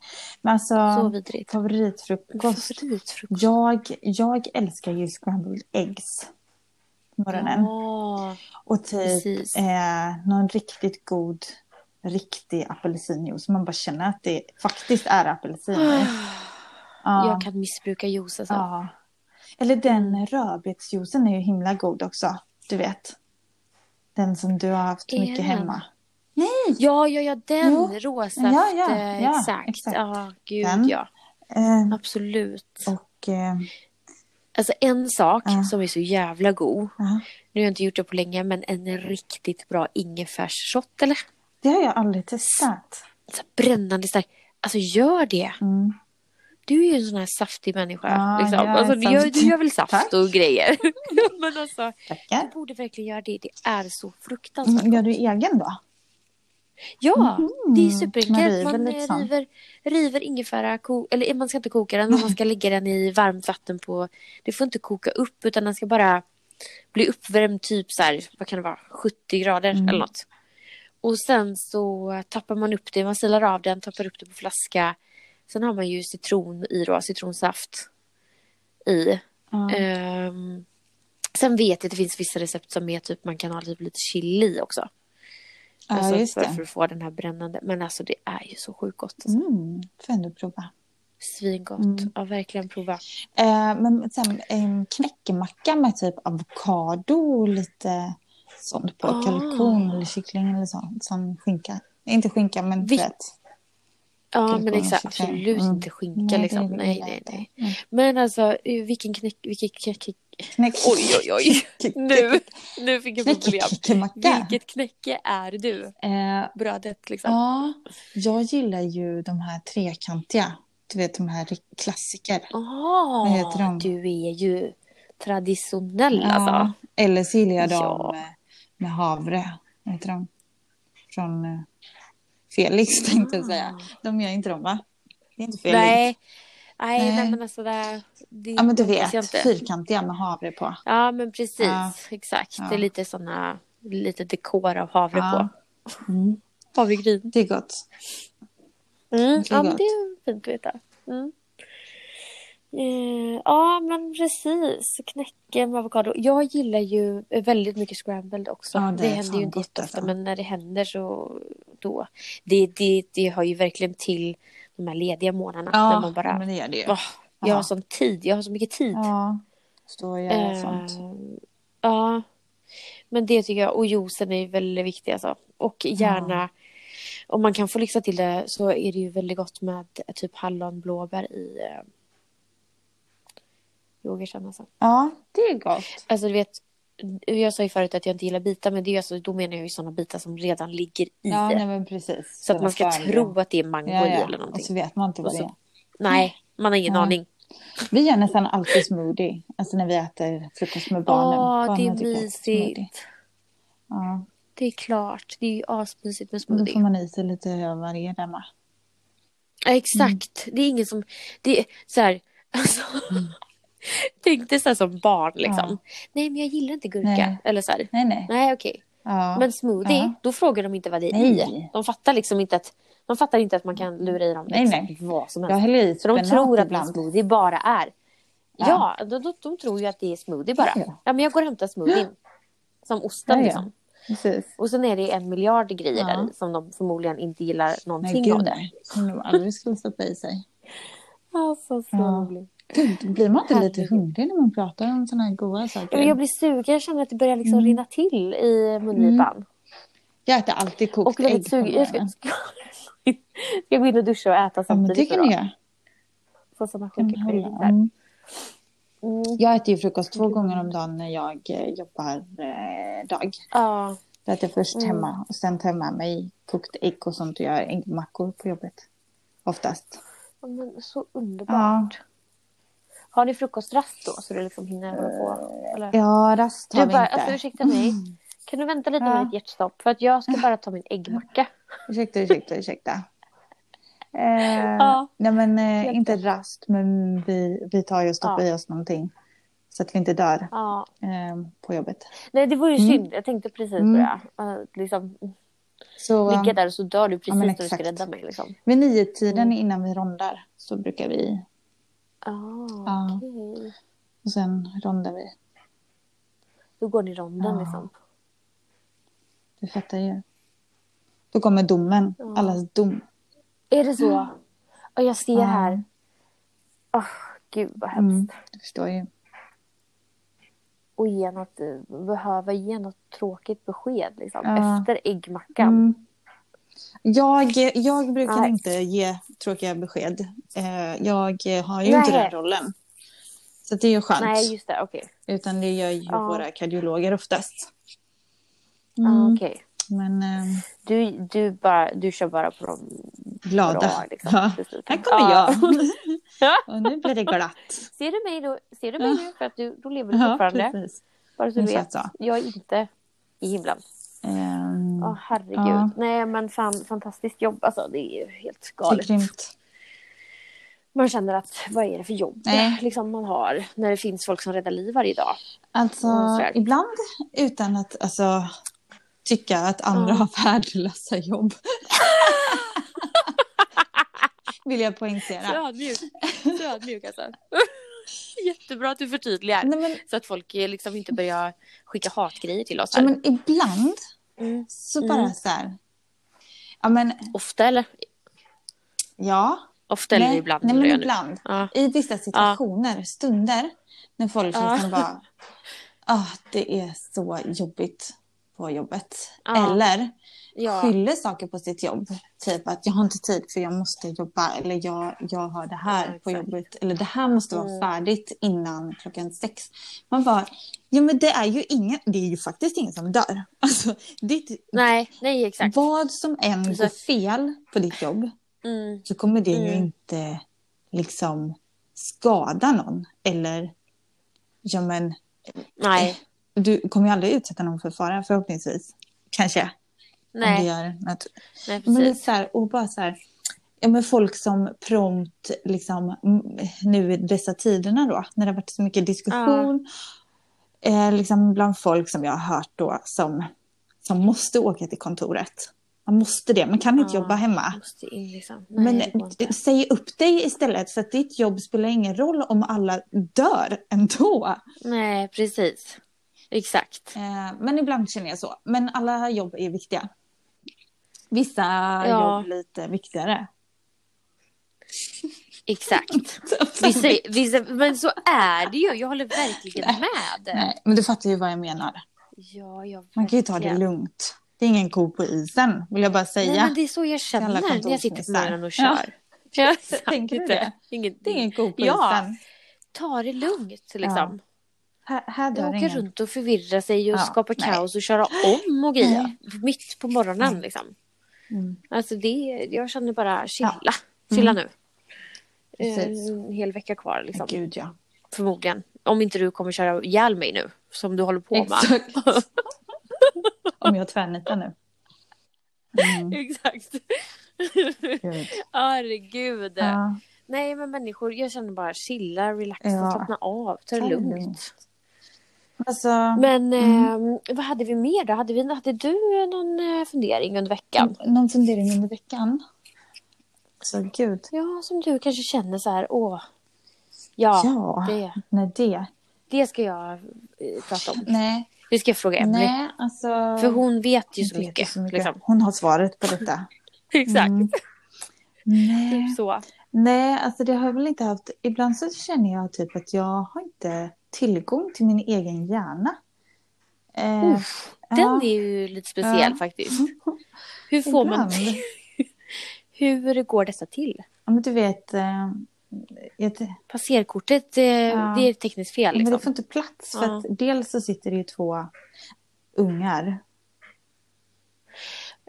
[SPEAKER 1] Men alltså,
[SPEAKER 2] eh, så vidrigt.
[SPEAKER 1] favoritfrukost.
[SPEAKER 2] Favoritfrukost.
[SPEAKER 1] Jag, jag älskar ju scrambled eggs på morgonen.
[SPEAKER 2] Ja,
[SPEAKER 1] Och typ
[SPEAKER 2] precis.
[SPEAKER 1] eh, någon riktigt god, riktig apelsinjuice. Man bara känner att det faktiskt är apelsin i. Ja.
[SPEAKER 2] Ah, Jag kan missbruka juice alltså.
[SPEAKER 1] Ja. Eller den rödbetsjuicen är ju himla god också. Du vet. Den som du har haft
[SPEAKER 2] Är
[SPEAKER 1] mycket
[SPEAKER 2] den?
[SPEAKER 1] hemma.
[SPEAKER 2] Ja, ja, ja, den
[SPEAKER 1] Jo.
[SPEAKER 2] rosa.
[SPEAKER 1] Ja, ja,
[SPEAKER 2] eh,
[SPEAKER 1] ja,
[SPEAKER 2] exakt.
[SPEAKER 1] exakt.
[SPEAKER 2] Ja, gud
[SPEAKER 1] Den.
[SPEAKER 2] ja.
[SPEAKER 1] Eh,
[SPEAKER 2] Absolut.
[SPEAKER 1] och... Eh,
[SPEAKER 2] Alltså en sak
[SPEAKER 1] Ja.
[SPEAKER 2] som är så jävla god.
[SPEAKER 1] ja.
[SPEAKER 2] Nu har jag inte gjort det på länge, men en riktigt bra ingefärsshot eller?
[SPEAKER 1] det har jag aldrig testat.
[SPEAKER 2] Så här brännande stark. Alltså gör det.
[SPEAKER 1] Mm.
[SPEAKER 2] Du är ju en sån här saftig människa.
[SPEAKER 1] Ja,
[SPEAKER 2] liksom.
[SPEAKER 1] jag är
[SPEAKER 2] alltså, du, gör,
[SPEAKER 1] saftig.
[SPEAKER 2] du gör väl saft
[SPEAKER 1] Tack.
[SPEAKER 2] och grejer. men alltså, du
[SPEAKER 1] Tackar.
[SPEAKER 2] borde verkligen göra det. Det är så fruktansvärt
[SPEAKER 1] Mm, Gör
[SPEAKER 2] gott.
[SPEAKER 1] du egen då?
[SPEAKER 2] Ja,
[SPEAKER 1] Mhm.
[SPEAKER 2] det är ju
[SPEAKER 1] Man
[SPEAKER 2] superenkelt.
[SPEAKER 1] river
[SPEAKER 2] Man eh,
[SPEAKER 1] liksom.
[SPEAKER 2] river, river ingefära, ko- eller eh, man ska inte koka den, men man ska lägga den i varmt vatten på, det får inte koka upp utan den ska bara bli uppvärmd typ så här, vad kan det vara, 70 grader
[SPEAKER 1] Mm.
[SPEAKER 2] eller något. Och sen så tappar man upp det, man silar av den, tappar upp det på flaska. Sen har man ju citron i då, citronsaft i.
[SPEAKER 1] Ja.
[SPEAKER 2] Ehm, sen vet jag att det finns vissa recept som är typ man kan ha typ lite chili också.
[SPEAKER 1] Ja,
[SPEAKER 2] alltså
[SPEAKER 1] just
[SPEAKER 2] för,
[SPEAKER 1] det.
[SPEAKER 2] för att få den här brännande. Men alltså det är ju så sjukt gott. Alltså.
[SPEAKER 1] Mm, får ändå prova.
[SPEAKER 2] Svingott.
[SPEAKER 1] Mm.
[SPEAKER 2] Ja, verkligen prova.
[SPEAKER 1] Eh, men sen en knäckemacka med typ avokado och lite sånt på.
[SPEAKER 2] Ah.
[SPEAKER 1] Kalkon eller kyckling eller sånt. Som skinka. Inte skinka men
[SPEAKER 2] Vi-
[SPEAKER 1] du vet.
[SPEAKER 2] Ja,
[SPEAKER 1] Kalkon
[SPEAKER 2] men
[SPEAKER 1] och
[SPEAKER 2] exakt.
[SPEAKER 1] kyckling.
[SPEAKER 2] Absolut
[SPEAKER 1] Mm.
[SPEAKER 2] inte skinka
[SPEAKER 1] det
[SPEAKER 2] liksom.
[SPEAKER 1] vill
[SPEAKER 2] Nej,
[SPEAKER 1] jag
[SPEAKER 2] nej,
[SPEAKER 1] inte.
[SPEAKER 2] nej.
[SPEAKER 1] Mm.
[SPEAKER 2] Men alltså, vilken knäck... Vilken knäck...
[SPEAKER 1] Knäck...
[SPEAKER 2] Oj, oj, oj. Nu, nu fick jag problem.
[SPEAKER 1] Knäckemacka.
[SPEAKER 2] Vilket knäcke är du?
[SPEAKER 1] Eh,
[SPEAKER 2] Brödet liksom.
[SPEAKER 1] ja, jag gillar ju de här trekantiga. Du vet de här ri- klassiker.
[SPEAKER 2] Jaha,
[SPEAKER 1] Vad heter de?
[SPEAKER 2] du är ju traditionell
[SPEAKER 1] Ja,
[SPEAKER 2] alltså.
[SPEAKER 1] Eller så gillar jag dem
[SPEAKER 2] Ja.
[SPEAKER 1] eh, med havre. Vad heter de? Från eh, Felix tänkte jag säga. De gör inte dem va? Det är inte Felix.
[SPEAKER 2] Ah. Nej. Nej, nej.
[SPEAKER 1] Nej.
[SPEAKER 2] men alltså det... det
[SPEAKER 1] Ja men du
[SPEAKER 2] hoppas jag
[SPEAKER 1] vet,
[SPEAKER 2] inte.
[SPEAKER 1] fyrkantiga med havre på.
[SPEAKER 2] Ja, men precis.
[SPEAKER 1] Ja.
[SPEAKER 2] Exakt.
[SPEAKER 1] Ja.
[SPEAKER 2] Det är lite såna lite dekor av havre
[SPEAKER 1] Ja.
[SPEAKER 2] på.
[SPEAKER 1] Mm.
[SPEAKER 2] Havregryn.
[SPEAKER 1] Det är gott.
[SPEAKER 2] Mm.
[SPEAKER 1] Det är
[SPEAKER 2] Ja, men
[SPEAKER 1] gott.
[SPEAKER 2] det är fint att veta. Mm. Eh, ja, men precis. Knäcke med avokado. Jag gillar ju väldigt mycket scrambled också.
[SPEAKER 1] Ja, det
[SPEAKER 2] det
[SPEAKER 1] är
[SPEAKER 2] händer
[SPEAKER 1] fan
[SPEAKER 2] ju inte
[SPEAKER 1] gott,
[SPEAKER 2] jätteofta,
[SPEAKER 1] alltså.
[SPEAKER 2] men när det händer så då. Det, det, det hör ju verkligen till de här lediga månaderna. när man bara...
[SPEAKER 1] men det gör det ju.
[SPEAKER 2] Åh, jag har
[SPEAKER 1] Ja.
[SPEAKER 2] sån tid. Jag har så mycket tid.
[SPEAKER 1] Ja, står jag
[SPEAKER 2] Eh,
[SPEAKER 1] sånt.
[SPEAKER 2] Ja. Men det tycker jag. Och juicen är ju väldigt viktig alltså. Och gärna. Om man kan få lyxa till det så är det ju väldigt gott med eh, typ hallon, blåbär i eh, yoghurten alltså.
[SPEAKER 1] Ja, det är gott.
[SPEAKER 2] Alltså du vet. Jag sa ju förut att jag inte gillar bitar men det är ju alltså, då menar jag ju sådana bitar som redan ligger i.
[SPEAKER 1] Ja, nej, men precis.
[SPEAKER 2] så att man ska tro
[SPEAKER 1] Sådana fördelar.
[SPEAKER 2] att det är mango
[SPEAKER 1] ja,
[SPEAKER 2] i
[SPEAKER 1] ja.
[SPEAKER 2] eller
[SPEAKER 1] Och
[SPEAKER 2] någonting.
[SPEAKER 1] så vet man inte vad
[SPEAKER 2] Och
[SPEAKER 1] det
[SPEAKER 2] så-
[SPEAKER 1] är.
[SPEAKER 2] Nej, man har ingen
[SPEAKER 1] Nej.
[SPEAKER 2] aning.
[SPEAKER 1] Vi gör nästan alltid smoothie. Alltså när vi äter frukost med barnen.
[SPEAKER 2] Åh, det
[SPEAKER 1] Barnen
[SPEAKER 2] är
[SPEAKER 1] tycker att smoothie.
[SPEAKER 2] mysigt.
[SPEAKER 1] Ja,
[SPEAKER 2] Det är klart. Det är ju asmysigt med
[SPEAKER 1] och då
[SPEAKER 2] smoothie.
[SPEAKER 1] får man i sig lite av varje där med.
[SPEAKER 2] Ja, exakt.
[SPEAKER 1] Mm.
[SPEAKER 2] Det är ingen som... Det är så här... Alltså, tänkte så här som barn liksom.
[SPEAKER 1] Ja.
[SPEAKER 2] Nej, men jag gillar inte gurka.
[SPEAKER 1] Nej.
[SPEAKER 2] Eller så här.
[SPEAKER 1] Nej, nej.
[SPEAKER 2] Nej, okej.
[SPEAKER 1] Ja.
[SPEAKER 2] Men smoothie,
[SPEAKER 1] Ja.
[SPEAKER 2] då frågar de inte vad det är i.
[SPEAKER 1] Nej.
[SPEAKER 2] De fattar liksom inte att... Man fattar inte att man kan lura i dem liksom.
[SPEAKER 1] Nej,
[SPEAKER 2] exakt
[SPEAKER 1] nej.
[SPEAKER 2] vad som
[SPEAKER 1] jag
[SPEAKER 2] helst.
[SPEAKER 1] häller i
[SPEAKER 2] Så de
[SPEAKER 1] spenat
[SPEAKER 2] tror att en
[SPEAKER 1] ibland.
[SPEAKER 2] smoothie bara är... Ja,
[SPEAKER 1] Ja.
[SPEAKER 2] de, de, de tror ju att det är smoothie bara.
[SPEAKER 1] Ja.
[SPEAKER 2] Ja, men jag går och hämtar smoothien. Som osten
[SPEAKER 1] Ja, ja.
[SPEAKER 2] liksom.
[SPEAKER 1] Precis.
[SPEAKER 2] Och sen är det en miljard grejer
[SPEAKER 1] Ja.
[SPEAKER 2] där i som de förmodligen inte gillar
[SPEAKER 1] Nej,
[SPEAKER 2] någonting
[SPEAKER 1] gud
[SPEAKER 2] av det.
[SPEAKER 1] nej. Som de aldrig skulle stoppa i sig.
[SPEAKER 2] Alltså, så
[SPEAKER 1] Ja.
[SPEAKER 2] roligt.
[SPEAKER 1] Gud, blir man inte lite
[SPEAKER 2] Herregud.
[SPEAKER 1] hungrig när man pratar om sådana här goda
[SPEAKER 2] Ja, Men jag
[SPEAKER 1] saker?
[SPEAKER 2] blir sugen, jag känner att det börjar liksom
[SPEAKER 1] Mm.
[SPEAKER 2] rinna till i mungipan.
[SPEAKER 1] Jag äter alltid kokt
[SPEAKER 2] Och väldigt
[SPEAKER 1] ägg på
[SPEAKER 2] sugen. Jag ska,
[SPEAKER 1] morgonen.
[SPEAKER 2] ska, ska jag gå in och duscha och äta
[SPEAKER 1] Ja, men det
[SPEAKER 2] samtidigt?
[SPEAKER 1] kan
[SPEAKER 2] då?
[SPEAKER 1] du göra.
[SPEAKER 2] få samma
[SPEAKER 1] Kan
[SPEAKER 2] sjuka
[SPEAKER 1] hålla.
[SPEAKER 2] perioder.
[SPEAKER 1] Mm.
[SPEAKER 2] Mm.
[SPEAKER 1] Jag äter ju frukost två gånger om dagen när jag eh, jobbar eh, dag.
[SPEAKER 2] Ja,
[SPEAKER 1] Då äter jag först
[SPEAKER 2] Mm.
[SPEAKER 1] hemma och sen tar jag med mig kokt ägg och sånt och gör äggmackor på jobbet. Oftast.
[SPEAKER 2] men så underbart. Har ni frukostrast då så du liksom hinner hålla på? Eller?
[SPEAKER 1] Ja, rast har
[SPEAKER 2] Du
[SPEAKER 1] vi
[SPEAKER 2] bara,
[SPEAKER 1] Eh, inte. Mm.
[SPEAKER 2] alltså ursäkta mig. Kan du vänta lite
[SPEAKER 1] Ja. Eh.
[SPEAKER 2] med ditt hjärtstopp? För att jag ska bara ta min äggmacka.
[SPEAKER 1] Ursäkta, ursäkta, ursäkta. Eh,
[SPEAKER 2] Ja.
[SPEAKER 1] Nej men eh,
[SPEAKER 2] Helt
[SPEAKER 1] inte rast men vi, vi tar ju och stoppar
[SPEAKER 2] Ja.
[SPEAKER 1] i oss någonting. Så att vi inte dör
[SPEAKER 2] Ja.
[SPEAKER 1] eh, på jobbet.
[SPEAKER 2] Nej, det vore ju
[SPEAKER 1] Mm.
[SPEAKER 2] synd. Jag tänkte precis på
[SPEAKER 1] Mm.
[SPEAKER 2] det. Att liksom,
[SPEAKER 1] Så
[SPEAKER 2] ligga där och så dör du precis
[SPEAKER 1] men
[SPEAKER 2] när du ska
[SPEAKER 1] exakt.
[SPEAKER 2] rädda mig. Liksom.
[SPEAKER 1] vid niotiden
[SPEAKER 2] Mm.
[SPEAKER 1] innan vi rondar så brukar vi
[SPEAKER 2] Ah,
[SPEAKER 1] Ja.
[SPEAKER 2] okej.
[SPEAKER 1] och sen rondar vi.
[SPEAKER 2] Då går ni ronden
[SPEAKER 1] Ja.
[SPEAKER 2] liksom.
[SPEAKER 1] Du fattar ju. Då kommer domen.
[SPEAKER 2] Ja.
[SPEAKER 1] Allas dom.
[SPEAKER 2] Är det så? Och jag ser
[SPEAKER 1] Ja.
[SPEAKER 2] här. Åh, gud vad hemskt.
[SPEAKER 1] Mm, du förstår ju.
[SPEAKER 2] Och ge något, eh, behöva ge något tråkigt besked liksom.
[SPEAKER 1] Ja.
[SPEAKER 2] Efter äggmackan.
[SPEAKER 1] Mm. Jag, jag brukar
[SPEAKER 2] Nej.
[SPEAKER 1] inte ge tråkiga besked. Eh, Jag eh, har ju inte
[SPEAKER 2] Nej.
[SPEAKER 1] den rollen. Så det är ju skönt.
[SPEAKER 2] Nej, just det. Okej.
[SPEAKER 1] Utan det gör ju
[SPEAKER 2] Ja.
[SPEAKER 1] våra kardiologer oftast.
[SPEAKER 2] Ah,
[SPEAKER 1] Mm,
[SPEAKER 2] okej.
[SPEAKER 1] Men eh,
[SPEAKER 2] Du, du, bara, du kör bara på de
[SPEAKER 1] glada.
[SPEAKER 2] bra. Liksom,
[SPEAKER 1] Ja.
[SPEAKER 2] besluten.
[SPEAKER 1] Här kommer
[SPEAKER 2] Ja.
[SPEAKER 1] jag. Och nu blir det glatt.
[SPEAKER 2] Ser du mig, då, ser du mig nu? För att du, då lever du
[SPEAKER 1] Ja,
[SPEAKER 2] fortfarande.
[SPEAKER 1] precis.
[SPEAKER 2] Bara så du vet.
[SPEAKER 1] Exakt så.
[SPEAKER 2] Jag är inte i himlen.
[SPEAKER 1] Ehm,
[SPEAKER 2] Ja, herregud.
[SPEAKER 1] Ja.
[SPEAKER 2] Nej, men fan, fantastiskt jobb. Alltså, det är ju helt
[SPEAKER 1] så
[SPEAKER 2] galet.
[SPEAKER 1] grymt.
[SPEAKER 2] Man känner att vad är det för jobb
[SPEAKER 1] Nej.
[SPEAKER 2] liksom man har när det finns folk som räddar liv varje dag?
[SPEAKER 1] Alltså,
[SPEAKER 2] Mm, så är det.
[SPEAKER 1] ibland utan att alltså, tycka att andra
[SPEAKER 2] Ja.
[SPEAKER 1] har värdelösa jobb. Vill jag poängtera.
[SPEAKER 2] Så ödmjuk. Så ödmjuk alltså. Jättebra att du förtydligar.
[SPEAKER 1] Nej, men,
[SPEAKER 2] Så att folk eh, liksom inte börjar skicka hatgrejer till oss.
[SPEAKER 1] ja,
[SPEAKER 2] Här.
[SPEAKER 1] men ibland
[SPEAKER 2] Mm.
[SPEAKER 1] så bara
[SPEAKER 2] Mm.
[SPEAKER 1] så här. Ja, men
[SPEAKER 2] Ofta eller?
[SPEAKER 1] ja.
[SPEAKER 2] Ofta eller
[SPEAKER 1] nej,
[SPEAKER 2] ibland?
[SPEAKER 1] nej,
[SPEAKER 2] eller
[SPEAKER 1] men
[SPEAKER 2] jag nu.
[SPEAKER 1] ibland.
[SPEAKER 2] Ja.
[SPEAKER 1] I vissa situationer, stunder, när folk
[SPEAKER 2] Ja.
[SPEAKER 1] liksom bara... Ah, det är så jobbigt på jobbet.
[SPEAKER 2] Ja.
[SPEAKER 1] Eller
[SPEAKER 2] Ja.
[SPEAKER 1] skyller saker på sitt jobb. Typ att jag har inte tid för jag måste jobba. Eller jag, jag har det här
[SPEAKER 2] Ja,
[SPEAKER 1] på
[SPEAKER 2] exakt.
[SPEAKER 1] jobbet. Eller det här måste vara
[SPEAKER 2] Mm.
[SPEAKER 1] färdigt innan klockan sex. Man bara, ja men det är ju ingen, det är ju faktiskt ingen som dör. Alltså, ditt,
[SPEAKER 2] Nej, nej exakt.
[SPEAKER 1] vad som än
[SPEAKER 2] Precis.
[SPEAKER 1] går fel på ditt jobb
[SPEAKER 2] Mm.
[SPEAKER 1] så kommer det ju
[SPEAKER 2] Mm.
[SPEAKER 1] inte liksom skada någon. Eller, ja men, Eh,
[SPEAKER 2] Nej,
[SPEAKER 1] du kommer ju aldrig utsätta någon för fara förhoppningsvis. Kanske, om du
[SPEAKER 2] nej,
[SPEAKER 1] gör något.
[SPEAKER 2] nej
[SPEAKER 1] Men det är
[SPEAKER 2] precis.
[SPEAKER 1] så här, och bara så här, ja men folk som prompt, liksom m- nu i dessa tiderna då, när det har varit så mycket diskussion, eh, liksom bland folk som jag har hört då, som, som måste åka till kontoret. Man måste det, man kan inte
[SPEAKER 2] Ja.
[SPEAKER 1] jobba hemma.
[SPEAKER 2] Måste in liksom. Nej,
[SPEAKER 1] Men eh,
[SPEAKER 2] det går inte.
[SPEAKER 1] säg upp dig istället för att ditt jobb spelar ingen roll om alla dör ändå.
[SPEAKER 2] Nej, precis. Exakt.
[SPEAKER 1] Eh, men ibland känner jag så. Men alla jobb är viktiga. Vissa
[SPEAKER 2] Ja.
[SPEAKER 1] jobb lite viktigare.
[SPEAKER 2] Exakt. Vissa, vissa, men så är det ju. Jag håller verkligen med.
[SPEAKER 1] Nej, men du fattar ju vad jag menar.
[SPEAKER 2] Ja, jag
[SPEAKER 1] Man kan ju ta det
[SPEAKER 2] verkligen.
[SPEAKER 1] lugnt. Det är ingen ko på isen, vill jag bara säga.
[SPEAKER 2] Nej, men det är så jag känner
[SPEAKER 1] alla
[SPEAKER 2] när jag sitter på
[SPEAKER 1] kontorsnissar.
[SPEAKER 2] morgonen och
[SPEAKER 1] Ja.
[SPEAKER 2] kör. Ja.
[SPEAKER 1] Tänker du det? Det är
[SPEAKER 2] Ingenting.
[SPEAKER 1] ingen ko på
[SPEAKER 2] Ja.
[SPEAKER 1] isen.
[SPEAKER 2] Ta det lugnt liksom.
[SPEAKER 1] Här,
[SPEAKER 2] Ja.
[SPEAKER 1] här dör
[SPEAKER 2] Åka
[SPEAKER 1] ingen.
[SPEAKER 2] runt och förvirra sig och
[SPEAKER 1] Ja,
[SPEAKER 2] skapa
[SPEAKER 1] nej.
[SPEAKER 2] kaos och köra om och grejer. Mitt på morgonen
[SPEAKER 1] Nej.
[SPEAKER 2] liksom.
[SPEAKER 1] Mm.
[SPEAKER 2] Alltså det, jag känner bara chilla.
[SPEAKER 1] Mm.
[SPEAKER 2] Chilla nu.
[SPEAKER 1] Precis.
[SPEAKER 2] Eh, En hel vecka kvar liksom.
[SPEAKER 1] Gud ja.
[SPEAKER 2] Förmodligen. Om inte du kommer köra ihjäl mig nu. Som du håller på med.
[SPEAKER 1] Exakt. Om jag tvärnitar nu. Mm,
[SPEAKER 2] Exakt.
[SPEAKER 1] gud.
[SPEAKER 2] Herregud.
[SPEAKER 1] Ja.
[SPEAKER 2] Nej men människor, jag känner bara chilla, relaxa,
[SPEAKER 1] Ja.
[SPEAKER 2] slappna av, ta
[SPEAKER 1] Ta
[SPEAKER 2] det
[SPEAKER 1] det
[SPEAKER 2] lugnt.
[SPEAKER 1] lugnt. Alltså,
[SPEAKER 2] Men
[SPEAKER 1] Mm.
[SPEAKER 2] eh, vad hade vi mer då? Hade, vi, hade du någon eh, fundering under veckan?
[SPEAKER 1] någon fundering under veckan? Så gud.
[SPEAKER 2] Ja, som du kanske känner så här, åh. Ja,
[SPEAKER 1] Ja,
[SPEAKER 2] Det,
[SPEAKER 1] nej det.
[SPEAKER 2] det ska jag eh, prata om.
[SPEAKER 1] Nej,
[SPEAKER 2] Det ska jag fråga Emelie.
[SPEAKER 1] nej alltså.
[SPEAKER 2] För hon vet ju så
[SPEAKER 1] vet ju
[SPEAKER 2] mycket.
[SPEAKER 1] så mycket.
[SPEAKER 2] Liksom.
[SPEAKER 1] Hon har svaret på detta.
[SPEAKER 2] Exakt,
[SPEAKER 1] Mm. Nej.
[SPEAKER 2] typ så.
[SPEAKER 1] Nej, alltså det har jag väl inte haft. Ibland så känner jag typ att jag har inte tillgång till min egen hjärna. Eh,
[SPEAKER 2] Uff,
[SPEAKER 1] ja,
[SPEAKER 2] Den är ju lite speciell
[SPEAKER 1] Ja.
[SPEAKER 2] faktiskt. Hur får man...
[SPEAKER 1] ibland.
[SPEAKER 2] Hur går detta till?
[SPEAKER 1] Ja, men du vet, eh, Ja, det,
[SPEAKER 2] Passerkortet, eh,
[SPEAKER 1] Ja.
[SPEAKER 2] det är ett tekniskt fel.
[SPEAKER 1] men det
[SPEAKER 2] Liksom.
[SPEAKER 1] får inte plats. För
[SPEAKER 2] Ja.
[SPEAKER 1] att dels så sitter det ju två ungar.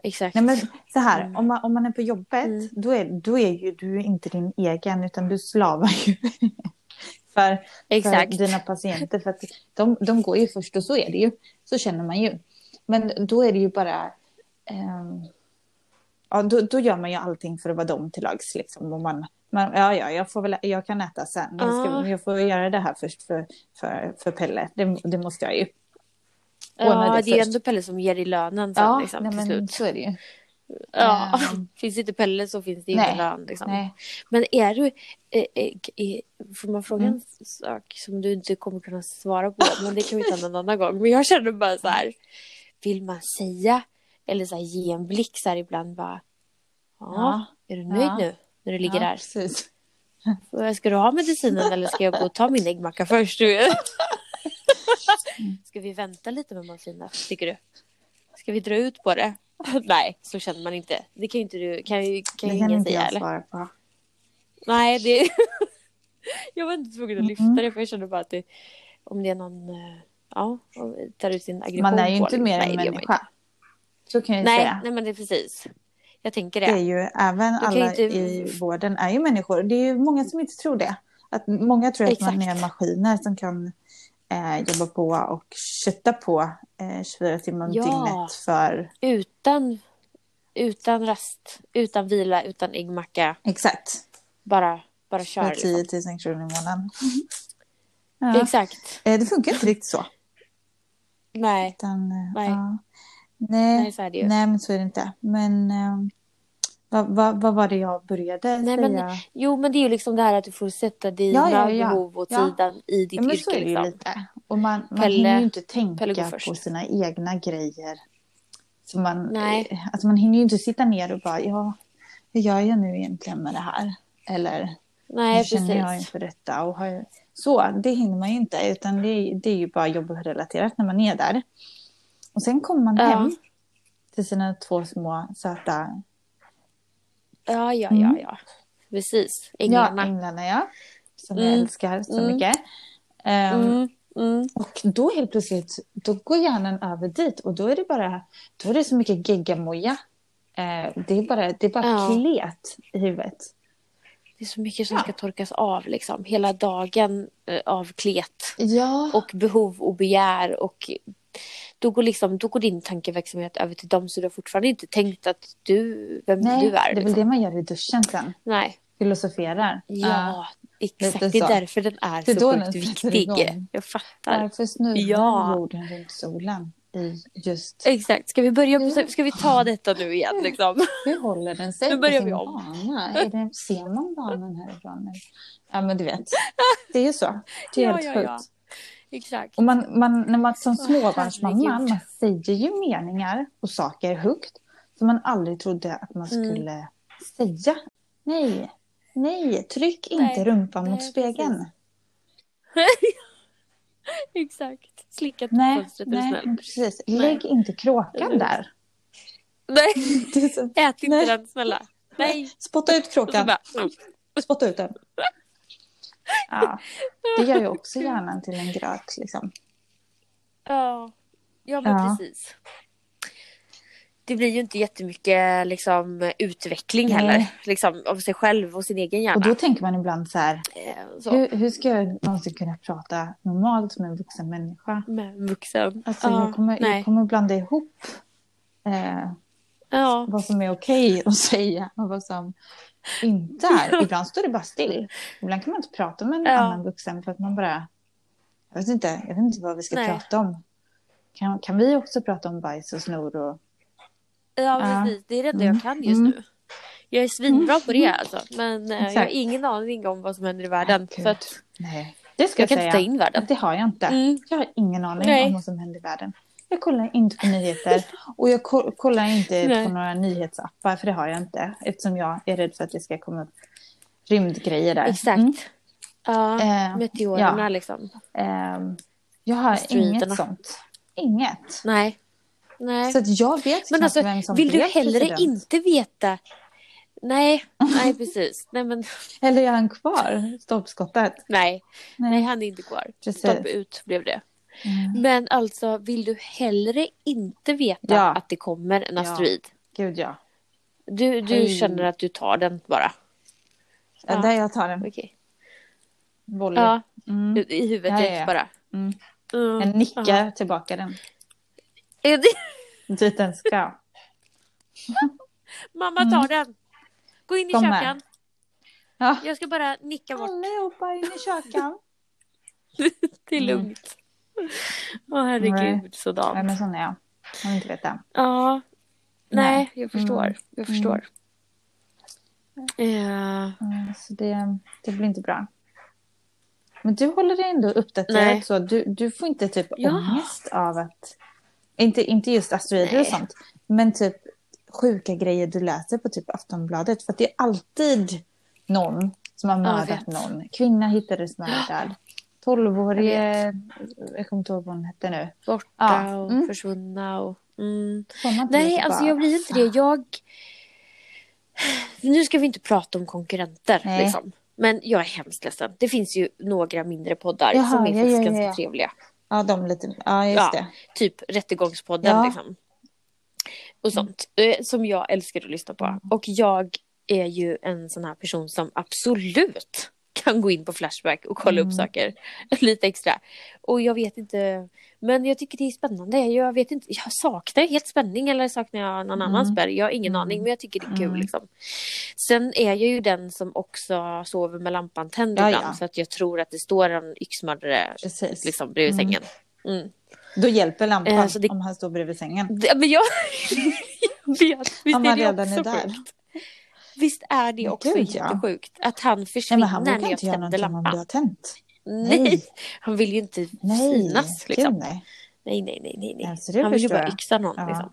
[SPEAKER 2] Exakt.
[SPEAKER 1] Nej, men så här,
[SPEAKER 2] Mm.
[SPEAKER 1] om, man, om man är på jobbet,
[SPEAKER 2] Mm.
[SPEAKER 1] då, är, då är ju du inte din egen, utan du slavar ju för, för
[SPEAKER 2] Exakt.
[SPEAKER 1] dina patienter. För att de, de går ju först och så är det ju. Så känner man ju. Men då är det ju bara... ehm, ja, då, då gör man ju allting för att vara dem till lags. Liksom, och man, man, ja, ja, jag, får väl, jag kan äta sen. Jag,
[SPEAKER 2] Ah.
[SPEAKER 1] ska, jag får göra det här först för, för, för Pelle. Det, det måste jag ju. ordna
[SPEAKER 2] Ja,
[SPEAKER 1] det
[SPEAKER 2] det är ju
[SPEAKER 1] först.
[SPEAKER 2] ändå Pelle som ger dig lönen sen liksom,
[SPEAKER 1] nej,
[SPEAKER 2] till
[SPEAKER 1] men
[SPEAKER 2] slut.
[SPEAKER 1] så är det ju.
[SPEAKER 2] Ja.
[SPEAKER 1] Ehm.
[SPEAKER 2] finns inte Pelle så finns det ju ingen
[SPEAKER 1] Nej.
[SPEAKER 2] lön. Liksom.
[SPEAKER 1] Nej.
[SPEAKER 2] Men är du... Eh, eh, eh, får man fråga
[SPEAKER 1] Mm.
[SPEAKER 2] en sak som du inte kommer kunna svara på? Men det kan vi ta någon annan gång. Men jag känner bara så här. Vill man säga eller så här, ge en blick så här ibland bara. Ja, är du nöjd
[SPEAKER 1] Ja.
[SPEAKER 2] nu? När du ligger
[SPEAKER 1] ja,
[SPEAKER 2] där.
[SPEAKER 1] Precis.
[SPEAKER 2] Vad Ska du ha medicinen eller ska jag gå och ta min äggmacka först? Du vet?
[SPEAKER 1] Mm.
[SPEAKER 2] Ska vi vänta lite med morfinet, tycker du? Ska vi dra ut på det? Nej, så känner man inte. Det kan ju inte du, kan ju, kan ju
[SPEAKER 1] Det kan
[SPEAKER 2] ingen
[SPEAKER 1] inte
[SPEAKER 2] säga
[SPEAKER 1] jag
[SPEAKER 2] eller?
[SPEAKER 1] svara på.
[SPEAKER 2] Nej, det... jag var inte tvungen att lyfta
[SPEAKER 1] Mhm.
[SPEAKER 2] det för jag kände bara att det, om det är någon, eh, ja, om vi tar ut sin aggression
[SPEAKER 1] Man är ju
[SPEAKER 2] på
[SPEAKER 1] inte
[SPEAKER 2] det.
[SPEAKER 1] mer
[SPEAKER 2] Nej,
[SPEAKER 1] än
[SPEAKER 2] det gör man inte.
[SPEAKER 1] människa. Så kan jag ju
[SPEAKER 2] Nej,
[SPEAKER 1] säga.
[SPEAKER 2] nej, men det är precis. Jag tänker
[SPEAKER 1] Det är
[SPEAKER 2] det.
[SPEAKER 1] ju, även
[SPEAKER 2] kan
[SPEAKER 1] alla
[SPEAKER 2] ju inte-
[SPEAKER 1] i vården är ju människor. Det är ju många som inte tror det. Att många tror att man
[SPEAKER 2] Exakt.
[SPEAKER 1] är maskiner som kan eh, jobba på och kötta på eh, 24 timmar om
[SPEAKER 2] Ja.
[SPEAKER 1] dygnet för...
[SPEAKER 2] Utan, utan rast, utan vila, utan äggmacka,
[SPEAKER 1] Exakt.
[SPEAKER 2] bara, bara
[SPEAKER 1] För
[SPEAKER 2] kör.
[SPEAKER 1] 10
[SPEAKER 2] Liksom. Mm-hmm.
[SPEAKER 1] 000 kronor i månaden. Ja.
[SPEAKER 2] Exakt.
[SPEAKER 1] Eh, det funkar inte riktigt så.
[SPEAKER 2] Nej,
[SPEAKER 1] Utan, eh,
[SPEAKER 2] Nej.
[SPEAKER 1] Ja. Nej.
[SPEAKER 2] nej så är det ju.
[SPEAKER 1] Nej, men så är det inte. Men eh, vad, vad, vad var det jag började
[SPEAKER 2] Nej,
[SPEAKER 1] säga?
[SPEAKER 2] men Jo, men det är ju liksom det här att du får sätta dina
[SPEAKER 1] Ja, ja, ja.
[SPEAKER 2] behov åt
[SPEAKER 1] Ja.
[SPEAKER 2] sidan i ditt
[SPEAKER 1] ja, men så
[SPEAKER 2] yrke.
[SPEAKER 1] är det ju
[SPEAKER 2] Liksom.
[SPEAKER 1] lite. Och man, man
[SPEAKER 2] Pelle-
[SPEAKER 1] hinner ju inte
[SPEAKER 2] Pelle går
[SPEAKER 1] tänka
[SPEAKER 2] först.
[SPEAKER 1] på sina egna grejer. Så man,
[SPEAKER 2] Nej.
[SPEAKER 1] Alltså man hinner ju inte sitta ner och bara, ja, hur gör jag nu egentligen med det här? Eller
[SPEAKER 2] Nej,
[SPEAKER 1] hur känner jag
[SPEAKER 2] precis.
[SPEAKER 1] inför detta? Och har jag... Så, det hinner man ju inte. Utan det, är- det är ju bara jobbrelaterat när man är där. Och sen kommer man
[SPEAKER 2] Ja.
[SPEAKER 1] hem till sina två små söta
[SPEAKER 2] Ja, ja, ja,
[SPEAKER 1] Mm.
[SPEAKER 2] ja. Precis. Änglarna.
[SPEAKER 1] Ja, änglarna, ja. Som jag
[SPEAKER 2] Mm.
[SPEAKER 1] älskar så
[SPEAKER 2] Mm.
[SPEAKER 1] mycket. Ehm,
[SPEAKER 2] Mm, mm.
[SPEAKER 1] Och då helt plötsligt, då går hjärnan över dit och då är det bara, då är det så mycket geggamoja. Eh, det är bara, det är bara
[SPEAKER 2] Ja.
[SPEAKER 1] klet i huvudet.
[SPEAKER 2] Det är så mycket som
[SPEAKER 1] Ja.
[SPEAKER 2] ska torkas av. Liksom. Hela dagen eh, av klet
[SPEAKER 1] Ja,
[SPEAKER 2] och behov och begär. Och då, går liksom, då går din tankeverksamhet över till dem så du har fortfarande inte tänkt att du, vem
[SPEAKER 1] Nej,
[SPEAKER 2] du
[SPEAKER 1] det är
[SPEAKER 2] är.
[SPEAKER 1] väl
[SPEAKER 2] Liksom.
[SPEAKER 1] det man gör i duschen sen.
[SPEAKER 2] Nej.
[SPEAKER 1] Filosoferar.
[SPEAKER 2] Ja,
[SPEAKER 1] lite
[SPEAKER 2] exakt. Det är
[SPEAKER 1] så.
[SPEAKER 2] därför den är
[SPEAKER 1] Det är
[SPEAKER 2] så
[SPEAKER 1] då den
[SPEAKER 2] sjukt
[SPEAKER 1] sätter
[SPEAKER 2] viktig.
[SPEAKER 1] igång.
[SPEAKER 2] Jag fattar.
[SPEAKER 1] Varför snurrar
[SPEAKER 2] Ja. Eh,
[SPEAKER 1] jorden runt solen i just...
[SPEAKER 2] Exakt. Ska vi, börja på,
[SPEAKER 1] Ja.
[SPEAKER 2] ska vi ta detta nu igen? Liksom?
[SPEAKER 1] Hur håller den sig
[SPEAKER 2] Nu
[SPEAKER 1] på
[SPEAKER 2] börjar
[SPEAKER 1] sin
[SPEAKER 2] vi om.
[SPEAKER 1] bana? Är det, ser man banan härifrån? eller? Ja, men du vet. Det är ju så. Det är
[SPEAKER 2] Ja,
[SPEAKER 1] helt
[SPEAKER 2] ja,
[SPEAKER 1] sjukt.
[SPEAKER 2] ja. Exakt.
[SPEAKER 1] Och man, man, när man som
[SPEAKER 2] Åh,
[SPEAKER 1] småbarnsmamma,
[SPEAKER 2] herregud.
[SPEAKER 1] man säger ju meningar och saker högt som man aldrig trodde att man
[SPEAKER 2] Mm.
[SPEAKER 1] skulle säga. Nej, nej, tryck inte
[SPEAKER 2] Nej,
[SPEAKER 1] rumpan mot
[SPEAKER 2] nej,
[SPEAKER 1] spegeln.
[SPEAKER 2] precis. Exakt. Slicka till
[SPEAKER 1] Nej,
[SPEAKER 2] fönstret är du
[SPEAKER 1] nej,
[SPEAKER 2] snäll.
[SPEAKER 1] men precis.
[SPEAKER 2] Nej.
[SPEAKER 1] Lägg inte kråkan
[SPEAKER 2] Eller-
[SPEAKER 1] där.
[SPEAKER 2] Nej,
[SPEAKER 1] Det är så-
[SPEAKER 2] ät inte
[SPEAKER 1] Nej.
[SPEAKER 2] den snälla. Nej.
[SPEAKER 1] Spotta ut
[SPEAKER 2] Och så
[SPEAKER 1] kråkan,
[SPEAKER 2] bara, mm.
[SPEAKER 1] spotta ut den. Ja, det gör ju också hjärnan till en gröt. Liksom.
[SPEAKER 2] Ja, ja men
[SPEAKER 1] Ja.
[SPEAKER 2] precis. Det blir ju inte jättemycket liksom, utveckling
[SPEAKER 1] Nej.
[SPEAKER 2] heller. Liksom, av sig själv och sin egen hjärna.
[SPEAKER 1] Och då tänker man ibland så här,
[SPEAKER 2] Eh, så.
[SPEAKER 1] hur, hur ska jag någonsin kunna prata normalt med en vuxen människa?
[SPEAKER 2] Med en vuxen.
[SPEAKER 1] Alltså,
[SPEAKER 2] ja,
[SPEAKER 1] jag, kommer,
[SPEAKER 2] nej.
[SPEAKER 1] jag kommer blanda ihop eh,
[SPEAKER 2] Ja,
[SPEAKER 1] vad som är okej att säga och vad som inte är. Ibland står det bara still. Ibland kan man inte prata med en
[SPEAKER 2] Ja.
[SPEAKER 1] annan vuxen för att man bara... Jag vet inte, jag vet inte vad vi ska
[SPEAKER 2] Nej.
[SPEAKER 1] prata om. Kan, kan vi också prata om bajs och snor? Och,
[SPEAKER 2] ja,
[SPEAKER 1] Ja.
[SPEAKER 2] precis. Det är det enda
[SPEAKER 1] Mm.
[SPEAKER 2] jag kan just
[SPEAKER 1] Mm.
[SPEAKER 2] nu. Jag är svinbra på det alltså. Men eh, jag har
[SPEAKER 1] Exakt.
[SPEAKER 2] ingen aning om vad som händer i världen.
[SPEAKER 1] Gud.
[SPEAKER 2] Så att,
[SPEAKER 1] nej, det ska
[SPEAKER 2] jag
[SPEAKER 1] jag,
[SPEAKER 2] kan inte ta
[SPEAKER 1] säga.
[SPEAKER 2] in världen.
[SPEAKER 1] Att det har jag inte.
[SPEAKER 2] Mm.
[SPEAKER 1] Jag har ingen aning
[SPEAKER 2] Nej.
[SPEAKER 1] om vad som händer i världen. Jag kollar inte på nyheter och jag ko- kollar inte
[SPEAKER 2] Nej.
[SPEAKER 1] på några nyhetsappar för det har jag inte. Eftersom jag är rädd för att det ska komma upp rymdgrejer där.
[SPEAKER 2] Exakt.
[SPEAKER 1] Mm.
[SPEAKER 2] Ja,
[SPEAKER 1] Eh,
[SPEAKER 2] meteorerna
[SPEAKER 1] ja.
[SPEAKER 2] liksom.
[SPEAKER 1] Ehm, jag har
[SPEAKER 2] Asteroiderna.
[SPEAKER 1] inget sånt. Inget.
[SPEAKER 2] Nej. Nej.
[SPEAKER 1] Så att jag vet
[SPEAKER 2] Men
[SPEAKER 1] knappt
[SPEAKER 2] alltså,
[SPEAKER 1] vem som
[SPEAKER 2] vill du
[SPEAKER 1] blev
[SPEAKER 2] hellre
[SPEAKER 1] president.
[SPEAKER 2] inte veta? Nej, nej precis. Nej, men,
[SPEAKER 1] Eller är han kvar, stolpskottet?
[SPEAKER 2] nej, nej, han är inte kvar.
[SPEAKER 1] Precis.
[SPEAKER 2] Stopp ut blev det.
[SPEAKER 1] Mm.
[SPEAKER 2] Men alltså, vill du hellre inte veta
[SPEAKER 1] Ja.
[SPEAKER 2] att det kommer en
[SPEAKER 1] Ja.
[SPEAKER 2] asteroid?
[SPEAKER 1] Gud ja.
[SPEAKER 2] Du, du
[SPEAKER 1] Hej.
[SPEAKER 2] känner att du tar den bara?
[SPEAKER 1] ja.
[SPEAKER 2] Ja.
[SPEAKER 1] Där jag tar en
[SPEAKER 2] Okej.
[SPEAKER 1] volley.
[SPEAKER 2] Ja,
[SPEAKER 1] Mm.
[SPEAKER 2] i- i huvudet
[SPEAKER 1] Ja, ja,
[SPEAKER 2] direkt
[SPEAKER 1] ja.
[SPEAKER 2] bara.
[SPEAKER 1] Mm.
[SPEAKER 2] Mm.
[SPEAKER 1] Jag nickar
[SPEAKER 2] Ja.
[SPEAKER 1] tillbaka den.
[SPEAKER 2] Är det-
[SPEAKER 1] Dit den ska.
[SPEAKER 2] Mamma tar den. Gå in i
[SPEAKER 1] Mm. Kom med.
[SPEAKER 2] köken.
[SPEAKER 1] Ja.
[SPEAKER 2] Jag ska bara nicka bort.
[SPEAKER 1] Allihopa in i kökan.
[SPEAKER 2] Det är
[SPEAKER 1] Mm.
[SPEAKER 2] lugnt. Åh herregud,
[SPEAKER 1] Nej,
[SPEAKER 2] sådant.
[SPEAKER 1] men sån är jag. Om inte vet det.
[SPEAKER 2] Ja. Nej, jag förstår.
[SPEAKER 1] Mm.
[SPEAKER 2] Jag förstår. Eh,
[SPEAKER 1] Mm, Så det, det blir inte bra. Men du håller dig ändå
[SPEAKER 2] Nej.
[SPEAKER 1] uppdaterad. Så du, du får inte typ
[SPEAKER 2] Ja.
[SPEAKER 1] ångest av att... Inte, inte just asteroider och
[SPEAKER 2] Nej.
[SPEAKER 1] sånt. Men typ sjuka grejer du läser på typ Aftonbladet. För att det är alltid någon som har mördat
[SPEAKER 2] vet.
[SPEAKER 1] någon. Kvinna hittades mördad. Tolvårig... Jag kommer inte ihåg vad hon hette nu.
[SPEAKER 2] borta
[SPEAKER 1] Ja,
[SPEAKER 2] och
[SPEAKER 1] mm.
[SPEAKER 2] försvunna och... Mm.
[SPEAKER 1] Får man inte
[SPEAKER 2] Nej,
[SPEAKER 1] lite
[SPEAKER 2] alltså
[SPEAKER 1] bara,
[SPEAKER 2] jag blir inte det. Jag... Nu ska vi inte prata om konkurrenter.
[SPEAKER 1] Nej.
[SPEAKER 2] Liksom. Men jag är hemskt ledsen. Det finns ju några mindre poddar
[SPEAKER 1] Jaha,
[SPEAKER 2] som är
[SPEAKER 1] ja,
[SPEAKER 2] faktiskt
[SPEAKER 1] ja, ja,
[SPEAKER 2] ganska
[SPEAKER 1] ja.
[SPEAKER 2] trevliga.
[SPEAKER 1] Ja, de lite... Ja, just
[SPEAKER 2] Ja.
[SPEAKER 1] det.
[SPEAKER 2] Typ Rättegångspodden.
[SPEAKER 1] Ja.
[SPEAKER 2] Liksom. Och sånt. eh, Som jag älskar att lyssna
[SPEAKER 1] Mm.
[SPEAKER 2] på. Och jag är ju en sån här person som absolut kan gå in på Flashback och kolla
[SPEAKER 1] Mm.
[SPEAKER 2] upp saker lite extra. Och jag vet inte, men jag tycker det är spännande. Jag vet inte, jag saknar helt spänning eller saknar jag någon annan
[SPEAKER 1] Mm.
[SPEAKER 2] spärr? Jag har ingen
[SPEAKER 1] Mm.
[SPEAKER 2] aning, men jag tycker det är kul
[SPEAKER 1] Mm.
[SPEAKER 2] liksom. Sen är jag ju den som också sover med lampan tänd
[SPEAKER 1] Ja,
[SPEAKER 2] ibland
[SPEAKER 1] ja.
[SPEAKER 2] för att jag tror att det står en yxmördare
[SPEAKER 1] Precis.
[SPEAKER 2] liksom bredvid
[SPEAKER 1] Mm.
[SPEAKER 2] sängen. Mm.
[SPEAKER 1] Då hjälper lampan
[SPEAKER 2] Eh, så det-
[SPEAKER 1] om han står bredvid sängen.
[SPEAKER 2] Det, men jag, jag vet, visst
[SPEAKER 1] Om
[SPEAKER 2] är
[SPEAKER 1] han
[SPEAKER 2] det
[SPEAKER 1] redan är
[SPEAKER 2] också
[SPEAKER 1] där.
[SPEAKER 2] sjukt? Visst är det
[SPEAKER 1] Men
[SPEAKER 2] också
[SPEAKER 1] gud, ja.
[SPEAKER 2] jättesjukt att han
[SPEAKER 1] Nej,
[SPEAKER 2] försvinner
[SPEAKER 1] men han
[SPEAKER 2] när
[SPEAKER 1] vågar
[SPEAKER 2] jag
[SPEAKER 1] inte göra
[SPEAKER 2] tänder
[SPEAKER 1] någonting om
[SPEAKER 2] lampan.
[SPEAKER 1] det har tänt.
[SPEAKER 2] Nej.
[SPEAKER 1] Nej.
[SPEAKER 2] han vill ju inte
[SPEAKER 1] Nej,
[SPEAKER 2] synas.
[SPEAKER 1] gud,
[SPEAKER 2] Liksom.
[SPEAKER 1] nej.
[SPEAKER 2] Nej, nej, nej, nej. nej.
[SPEAKER 1] Alltså, det
[SPEAKER 2] han vill ju
[SPEAKER 1] förstår
[SPEAKER 2] bara
[SPEAKER 1] jag.
[SPEAKER 2] yxa någon.
[SPEAKER 1] Ja.
[SPEAKER 2] Liksom.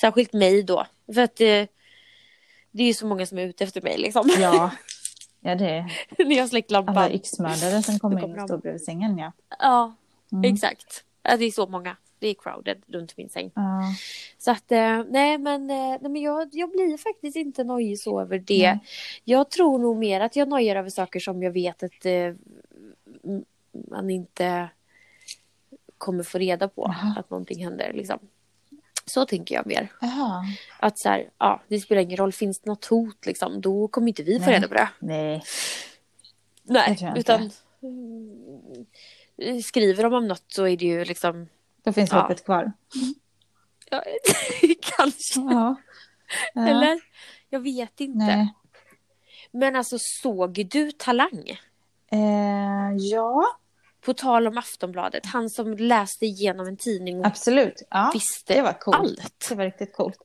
[SPEAKER 2] Särskilt mig då. För att eh, det är ju så många som är ute efter mig liksom.
[SPEAKER 1] Ja. ja, det är
[SPEAKER 2] När jag har släckt
[SPEAKER 1] alla
[SPEAKER 2] lampan.
[SPEAKER 1] yxmördare som
[SPEAKER 2] Det
[SPEAKER 1] kommer in
[SPEAKER 2] kommer
[SPEAKER 1] och står bredvid sängen. Ja.
[SPEAKER 2] Ja,
[SPEAKER 1] Mm.
[SPEAKER 2] exakt. Ja, det är så många. Det är crowded runt min säng.
[SPEAKER 1] Ja.
[SPEAKER 2] Så att eh, nej men, eh, nej, men jag, jag blir faktiskt inte nojig så över det.
[SPEAKER 1] Nej.
[SPEAKER 2] Jag tror nog mer att jag nojar över saker som jag vet att eh, m- man inte kommer få reda på
[SPEAKER 1] Jaha.
[SPEAKER 2] att någonting händer. Liksom. Så tänker jag mer.
[SPEAKER 1] Jaha.
[SPEAKER 2] Att så här, ja, det spelar ingen roll, finns det något hot liksom, då kommer inte vi få
[SPEAKER 1] Nej.
[SPEAKER 2] reda på det.
[SPEAKER 1] Nej.
[SPEAKER 2] Nej,
[SPEAKER 1] Det tror jag
[SPEAKER 2] utan mm, skriver de om något så är det ju liksom,
[SPEAKER 1] Då finns
[SPEAKER 2] Ja.
[SPEAKER 1] hoppet kvar.
[SPEAKER 2] ja, kanske,
[SPEAKER 1] Ja. Ja.
[SPEAKER 2] eller? Jag vet inte.
[SPEAKER 1] Nej.
[SPEAKER 2] Men alltså såg du Talang?
[SPEAKER 1] Eh, ja,
[SPEAKER 2] På tal om Aftonbladet, han som läste igenom en tidning och
[SPEAKER 1] absolut. Ja.
[SPEAKER 2] visste
[SPEAKER 1] Det var coolt.
[SPEAKER 2] allt.
[SPEAKER 1] Det var riktigt coolt.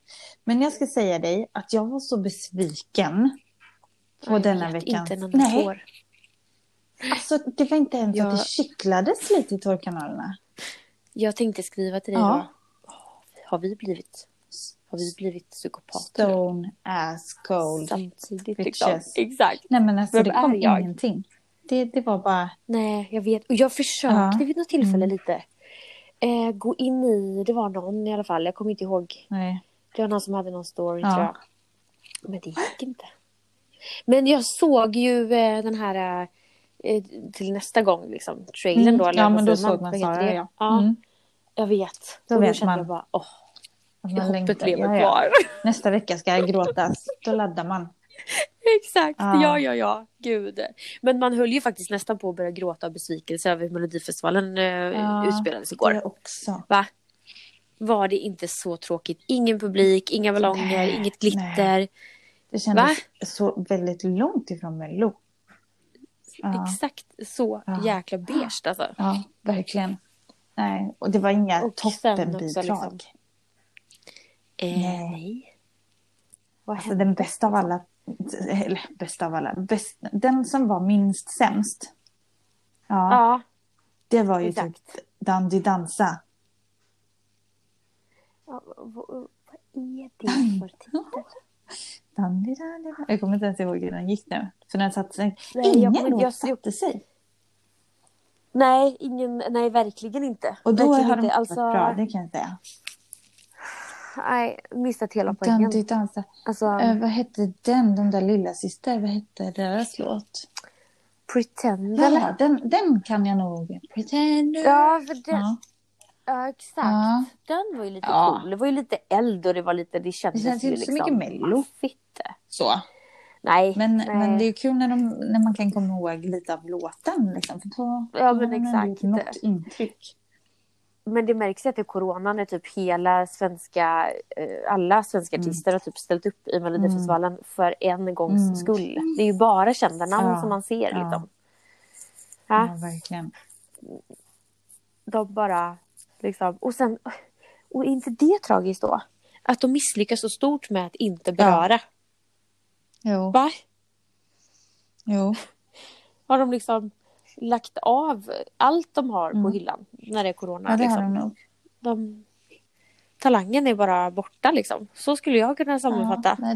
[SPEAKER 1] Men jag ska säga dig att jag var så besviken på
[SPEAKER 2] Jag
[SPEAKER 1] denna
[SPEAKER 2] vet
[SPEAKER 1] veckans...
[SPEAKER 2] Inte en annan
[SPEAKER 1] Nej,
[SPEAKER 2] tår.
[SPEAKER 1] Alltså, det var inte ens
[SPEAKER 2] Jag-
[SPEAKER 1] att det kittlades lite i torrkanalerna.
[SPEAKER 2] Jag tänkte skriva till dig
[SPEAKER 1] Ja.
[SPEAKER 2] då. Har vi blivit, har vi blivit psykopater?
[SPEAKER 1] Stone ass cold.
[SPEAKER 2] Samtidigt
[SPEAKER 1] bitches.
[SPEAKER 2] liksom. Exakt.
[SPEAKER 1] Nej, men alltså,
[SPEAKER 2] Vem
[SPEAKER 1] det kom
[SPEAKER 2] är jag?
[SPEAKER 1] ingenting. Det, det var bara...
[SPEAKER 2] Nej, jag vet. Och jag försökte
[SPEAKER 1] Ja.
[SPEAKER 2] vid något tillfälle
[SPEAKER 1] Mm.
[SPEAKER 2] lite. Eh, gå in i, det var någon i alla fall. Jag kommer inte ihåg
[SPEAKER 1] Nej.
[SPEAKER 2] Det var någon som hade någon story
[SPEAKER 1] Ja.
[SPEAKER 2] tror jag. Men det gick inte. Men jag såg ju eh, den här eh, till nästa gång liksom. Trailern då. eller
[SPEAKER 1] Mm. ja,
[SPEAKER 2] vad
[SPEAKER 1] men då
[SPEAKER 2] säger
[SPEAKER 1] såg man
[SPEAKER 2] Vad heter
[SPEAKER 1] Sara,
[SPEAKER 2] det?
[SPEAKER 1] ja.
[SPEAKER 2] ja
[SPEAKER 1] Mm.
[SPEAKER 2] jag vet.
[SPEAKER 1] Då
[SPEAKER 2] och då
[SPEAKER 1] vet
[SPEAKER 2] kände
[SPEAKER 1] man.
[SPEAKER 2] jag bara, åh,
[SPEAKER 1] Att man
[SPEAKER 2] hoppet
[SPEAKER 1] längtar.
[SPEAKER 2] lever
[SPEAKER 1] Ja, ja.
[SPEAKER 2] kvar.
[SPEAKER 1] Nästa vecka ska jag gråtas. Då laddar man.
[SPEAKER 2] Exakt,
[SPEAKER 1] Ja.
[SPEAKER 2] ja, ja, ja, gud. Men man höll ju faktiskt nästan på att börja gråta av besvikelse över hur Melodifestivalen eh,
[SPEAKER 1] Ja,
[SPEAKER 2] utspelades igår.
[SPEAKER 1] Det också.
[SPEAKER 2] Va? Var det inte så tråkigt? Ingen publik, inga ballonger,
[SPEAKER 1] Nej,
[SPEAKER 2] inget glitter.
[SPEAKER 1] Det kändes så väldigt långt ifrån Mello. Ja.
[SPEAKER 2] Exakt så
[SPEAKER 1] Ja.
[SPEAKER 2] jäkla beige alltså.
[SPEAKER 1] Ja, verkligen. Nej, och det var inga
[SPEAKER 2] Och sen också
[SPEAKER 1] toppenbidrag.
[SPEAKER 2] liksom- Eh,
[SPEAKER 1] Nej.
[SPEAKER 2] nej. Vad
[SPEAKER 1] Alltså den bästa av alla, eller bästa av alla, bäst, den som var minst sämst. Ja,
[SPEAKER 2] Ja,
[SPEAKER 1] det var ju typ
[SPEAKER 2] exakt.
[SPEAKER 1] Dandy Dansa.
[SPEAKER 2] Ja, vad- vad vad är det för titel?
[SPEAKER 1] Dandy, dandy, dandy. Jag kommer inte ens ihåg hur den gick nu. För den satte sig.
[SPEAKER 2] Nej, jag
[SPEAKER 1] Ingen
[SPEAKER 2] kommer-
[SPEAKER 1] låt
[SPEAKER 2] jag-
[SPEAKER 1] satte sig.
[SPEAKER 2] Nej, ingen, nej verkligen inte.
[SPEAKER 1] Och då
[SPEAKER 2] verkligen
[SPEAKER 1] har de
[SPEAKER 2] inte.
[SPEAKER 1] varit
[SPEAKER 2] Alltså,
[SPEAKER 1] bra, det kan jag säga.
[SPEAKER 2] nej, missat hela poängen.
[SPEAKER 1] Dandy dansa.
[SPEAKER 2] Alltså,
[SPEAKER 1] Eh, vad hette den, de där lilla syster? Vad hette deras låt?
[SPEAKER 2] pretend eller?
[SPEAKER 1] Ja, den, den kan jag nog. Pretender.
[SPEAKER 2] Ja, för det, ja.
[SPEAKER 1] Ja.
[SPEAKER 2] exakt.
[SPEAKER 1] Ja.
[SPEAKER 2] Den var ju lite
[SPEAKER 1] Ja.
[SPEAKER 2] cool. Det var ju lite eld och det var lite, det kändes
[SPEAKER 1] Det känns
[SPEAKER 2] ju liksom- Ah,
[SPEAKER 1] inte så mycket Mello.
[SPEAKER 2] Fitte.
[SPEAKER 1] Så.
[SPEAKER 2] Nej.
[SPEAKER 1] Men,
[SPEAKER 2] nej.
[SPEAKER 1] men det är kul när, de, när man kan komma ihåg lite av låten. Liksom. För då,
[SPEAKER 2] Ja,
[SPEAKER 1] då
[SPEAKER 2] men
[SPEAKER 1] har man ändå
[SPEAKER 2] exakt.
[SPEAKER 1] gjort Något intryck.
[SPEAKER 2] Men det märks ju att det är coronan är typ hela svenska, eh, alla svenska
[SPEAKER 1] Mm.
[SPEAKER 2] artister har typ ställt upp i Melodifestivalen för en gångs
[SPEAKER 1] Mm.
[SPEAKER 2] skull. Det är ju bara kända namn
[SPEAKER 1] Ja,
[SPEAKER 2] som man ser
[SPEAKER 1] ja.
[SPEAKER 2] liksom. Ja,
[SPEAKER 1] Ja, verkligen.
[SPEAKER 2] de bara liksom, och sen, och är inte det tragiskt då? Att de misslyckas så stort med att inte beröra.
[SPEAKER 1] Jo.
[SPEAKER 2] Va?
[SPEAKER 1] jo.
[SPEAKER 2] Har de liksom lagt av allt de har på
[SPEAKER 1] Mm.
[SPEAKER 2] hyllan när det är corona?
[SPEAKER 1] Ja, det har
[SPEAKER 2] liksom.
[SPEAKER 1] de nog.
[SPEAKER 2] de, talangen är bara borta liksom. Så skulle jag kunna sammanfatta.
[SPEAKER 1] Ja, nej,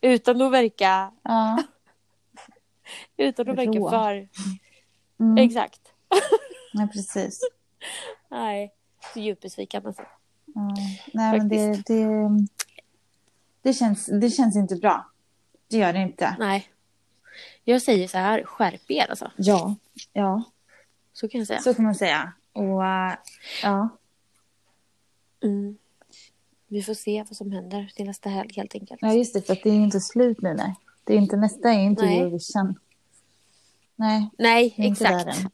[SPEAKER 1] det,
[SPEAKER 2] Utan att verka,
[SPEAKER 1] ja.
[SPEAKER 2] utan att verka
[SPEAKER 1] Rå.
[SPEAKER 2] för...
[SPEAKER 1] Mm.
[SPEAKER 2] Exakt.
[SPEAKER 1] ja, precis.
[SPEAKER 2] Nej. Så djupt besviken alltså.
[SPEAKER 1] Ja. Nej, men det,
[SPEAKER 2] Faktiskt.
[SPEAKER 1] det, det, känns, det känns inte bra. Det gör det inte.
[SPEAKER 2] Nej. Jag säger så här, skärp er alltså.
[SPEAKER 1] Ja. ja,
[SPEAKER 2] Så kan jag säga.
[SPEAKER 1] så kan man säga. Och, äh, ja.
[SPEAKER 2] Mm. Vi får se vad som händer till nästa helg helt enkelt.
[SPEAKER 1] ja, just det. För att det är ju inte slut nu. Nej. Det är inte, nästa är inte
[SPEAKER 2] Nej.
[SPEAKER 1] Eurovision. Nej,
[SPEAKER 2] Nej,
[SPEAKER 1] det är inte
[SPEAKER 2] exakt.
[SPEAKER 1] där än.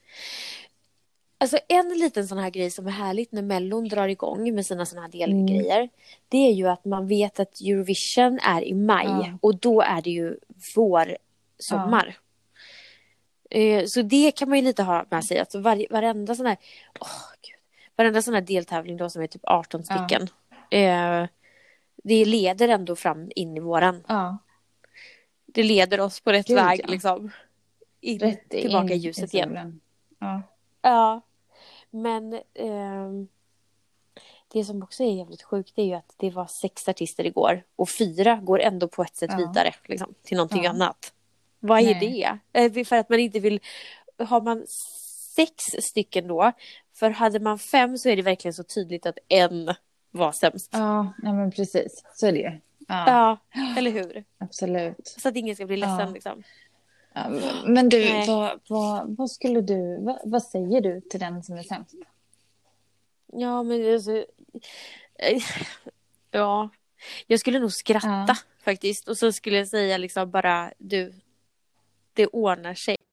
[SPEAKER 2] Alltså en liten sån här grej som är härligt när Mellon drar igång med sina såna här
[SPEAKER 1] Mm.
[SPEAKER 2] delgrejer. Det är ju att man vet att Eurovision är i maj
[SPEAKER 1] Ja.
[SPEAKER 2] och då är det ju vår sommar. Eh, Så det kan man ju lite ha med sig. Alltså var, varenda sån här, åh gud, varenda sån här deltävling då som är typ 18
[SPEAKER 1] Ja.
[SPEAKER 2] stycken. eh, Det leder ändå fram in i våren.
[SPEAKER 1] Ja,
[SPEAKER 2] Det leder oss på rätt
[SPEAKER 1] Gud,
[SPEAKER 2] väg
[SPEAKER 1] ja.
[SPEAKER 2] liksom. In,
[SPEAKER 1] rätt
[SPEAKER 2] tillbaka
[SPEAKER 1] in
[SPEAKER 2] i ljuset igen.
[SPEAKER 1] solen. Ja.
[SPEAKER 2] Ja, men ehm, det som också är jävligt sjukt det är ju att det var sex artister igår och fyra går ändå på ett sätt
[SPEAKER 1] Ja.
[SPEAKER 2] vidare liksom, till någonting
[SPEAKER 1] Ja.
[SPEAKER 2] annat. Vad är
[SPEAKER 1] Nej.
[SPEAKER 2] det? Eh, För att man inte vill, har man sex stycken då, för hade man fem så är det verkligen så tydligt att en var sämst.
[SPEAKER 1] Ja, nej men precis. Så är det ju. Ja,
[SPEAKER 2] Ja, eller hur?
[SPEAKER 1] absolut.
[SPEAKER 2] Så att ingen ska bli ledsen
[SPEAKER 1] Ja.
[SPEAKER 2] liksom.
[SPEAKER 1] Ja, men du,
[SPEAKER 2] Nej.
[SPEAKER 1] vad, vad, vad skulle du, vad, vad säger du till den som är sämst?
[SPEAKER 2] Ja, men alltså... eh, Ja. Jag skulle nog skratta
[SPEAKER 1] Ja.
[SPEAKER 2] faktiskt. Och så skulle jag säga liksom bara du, det ordnar sig.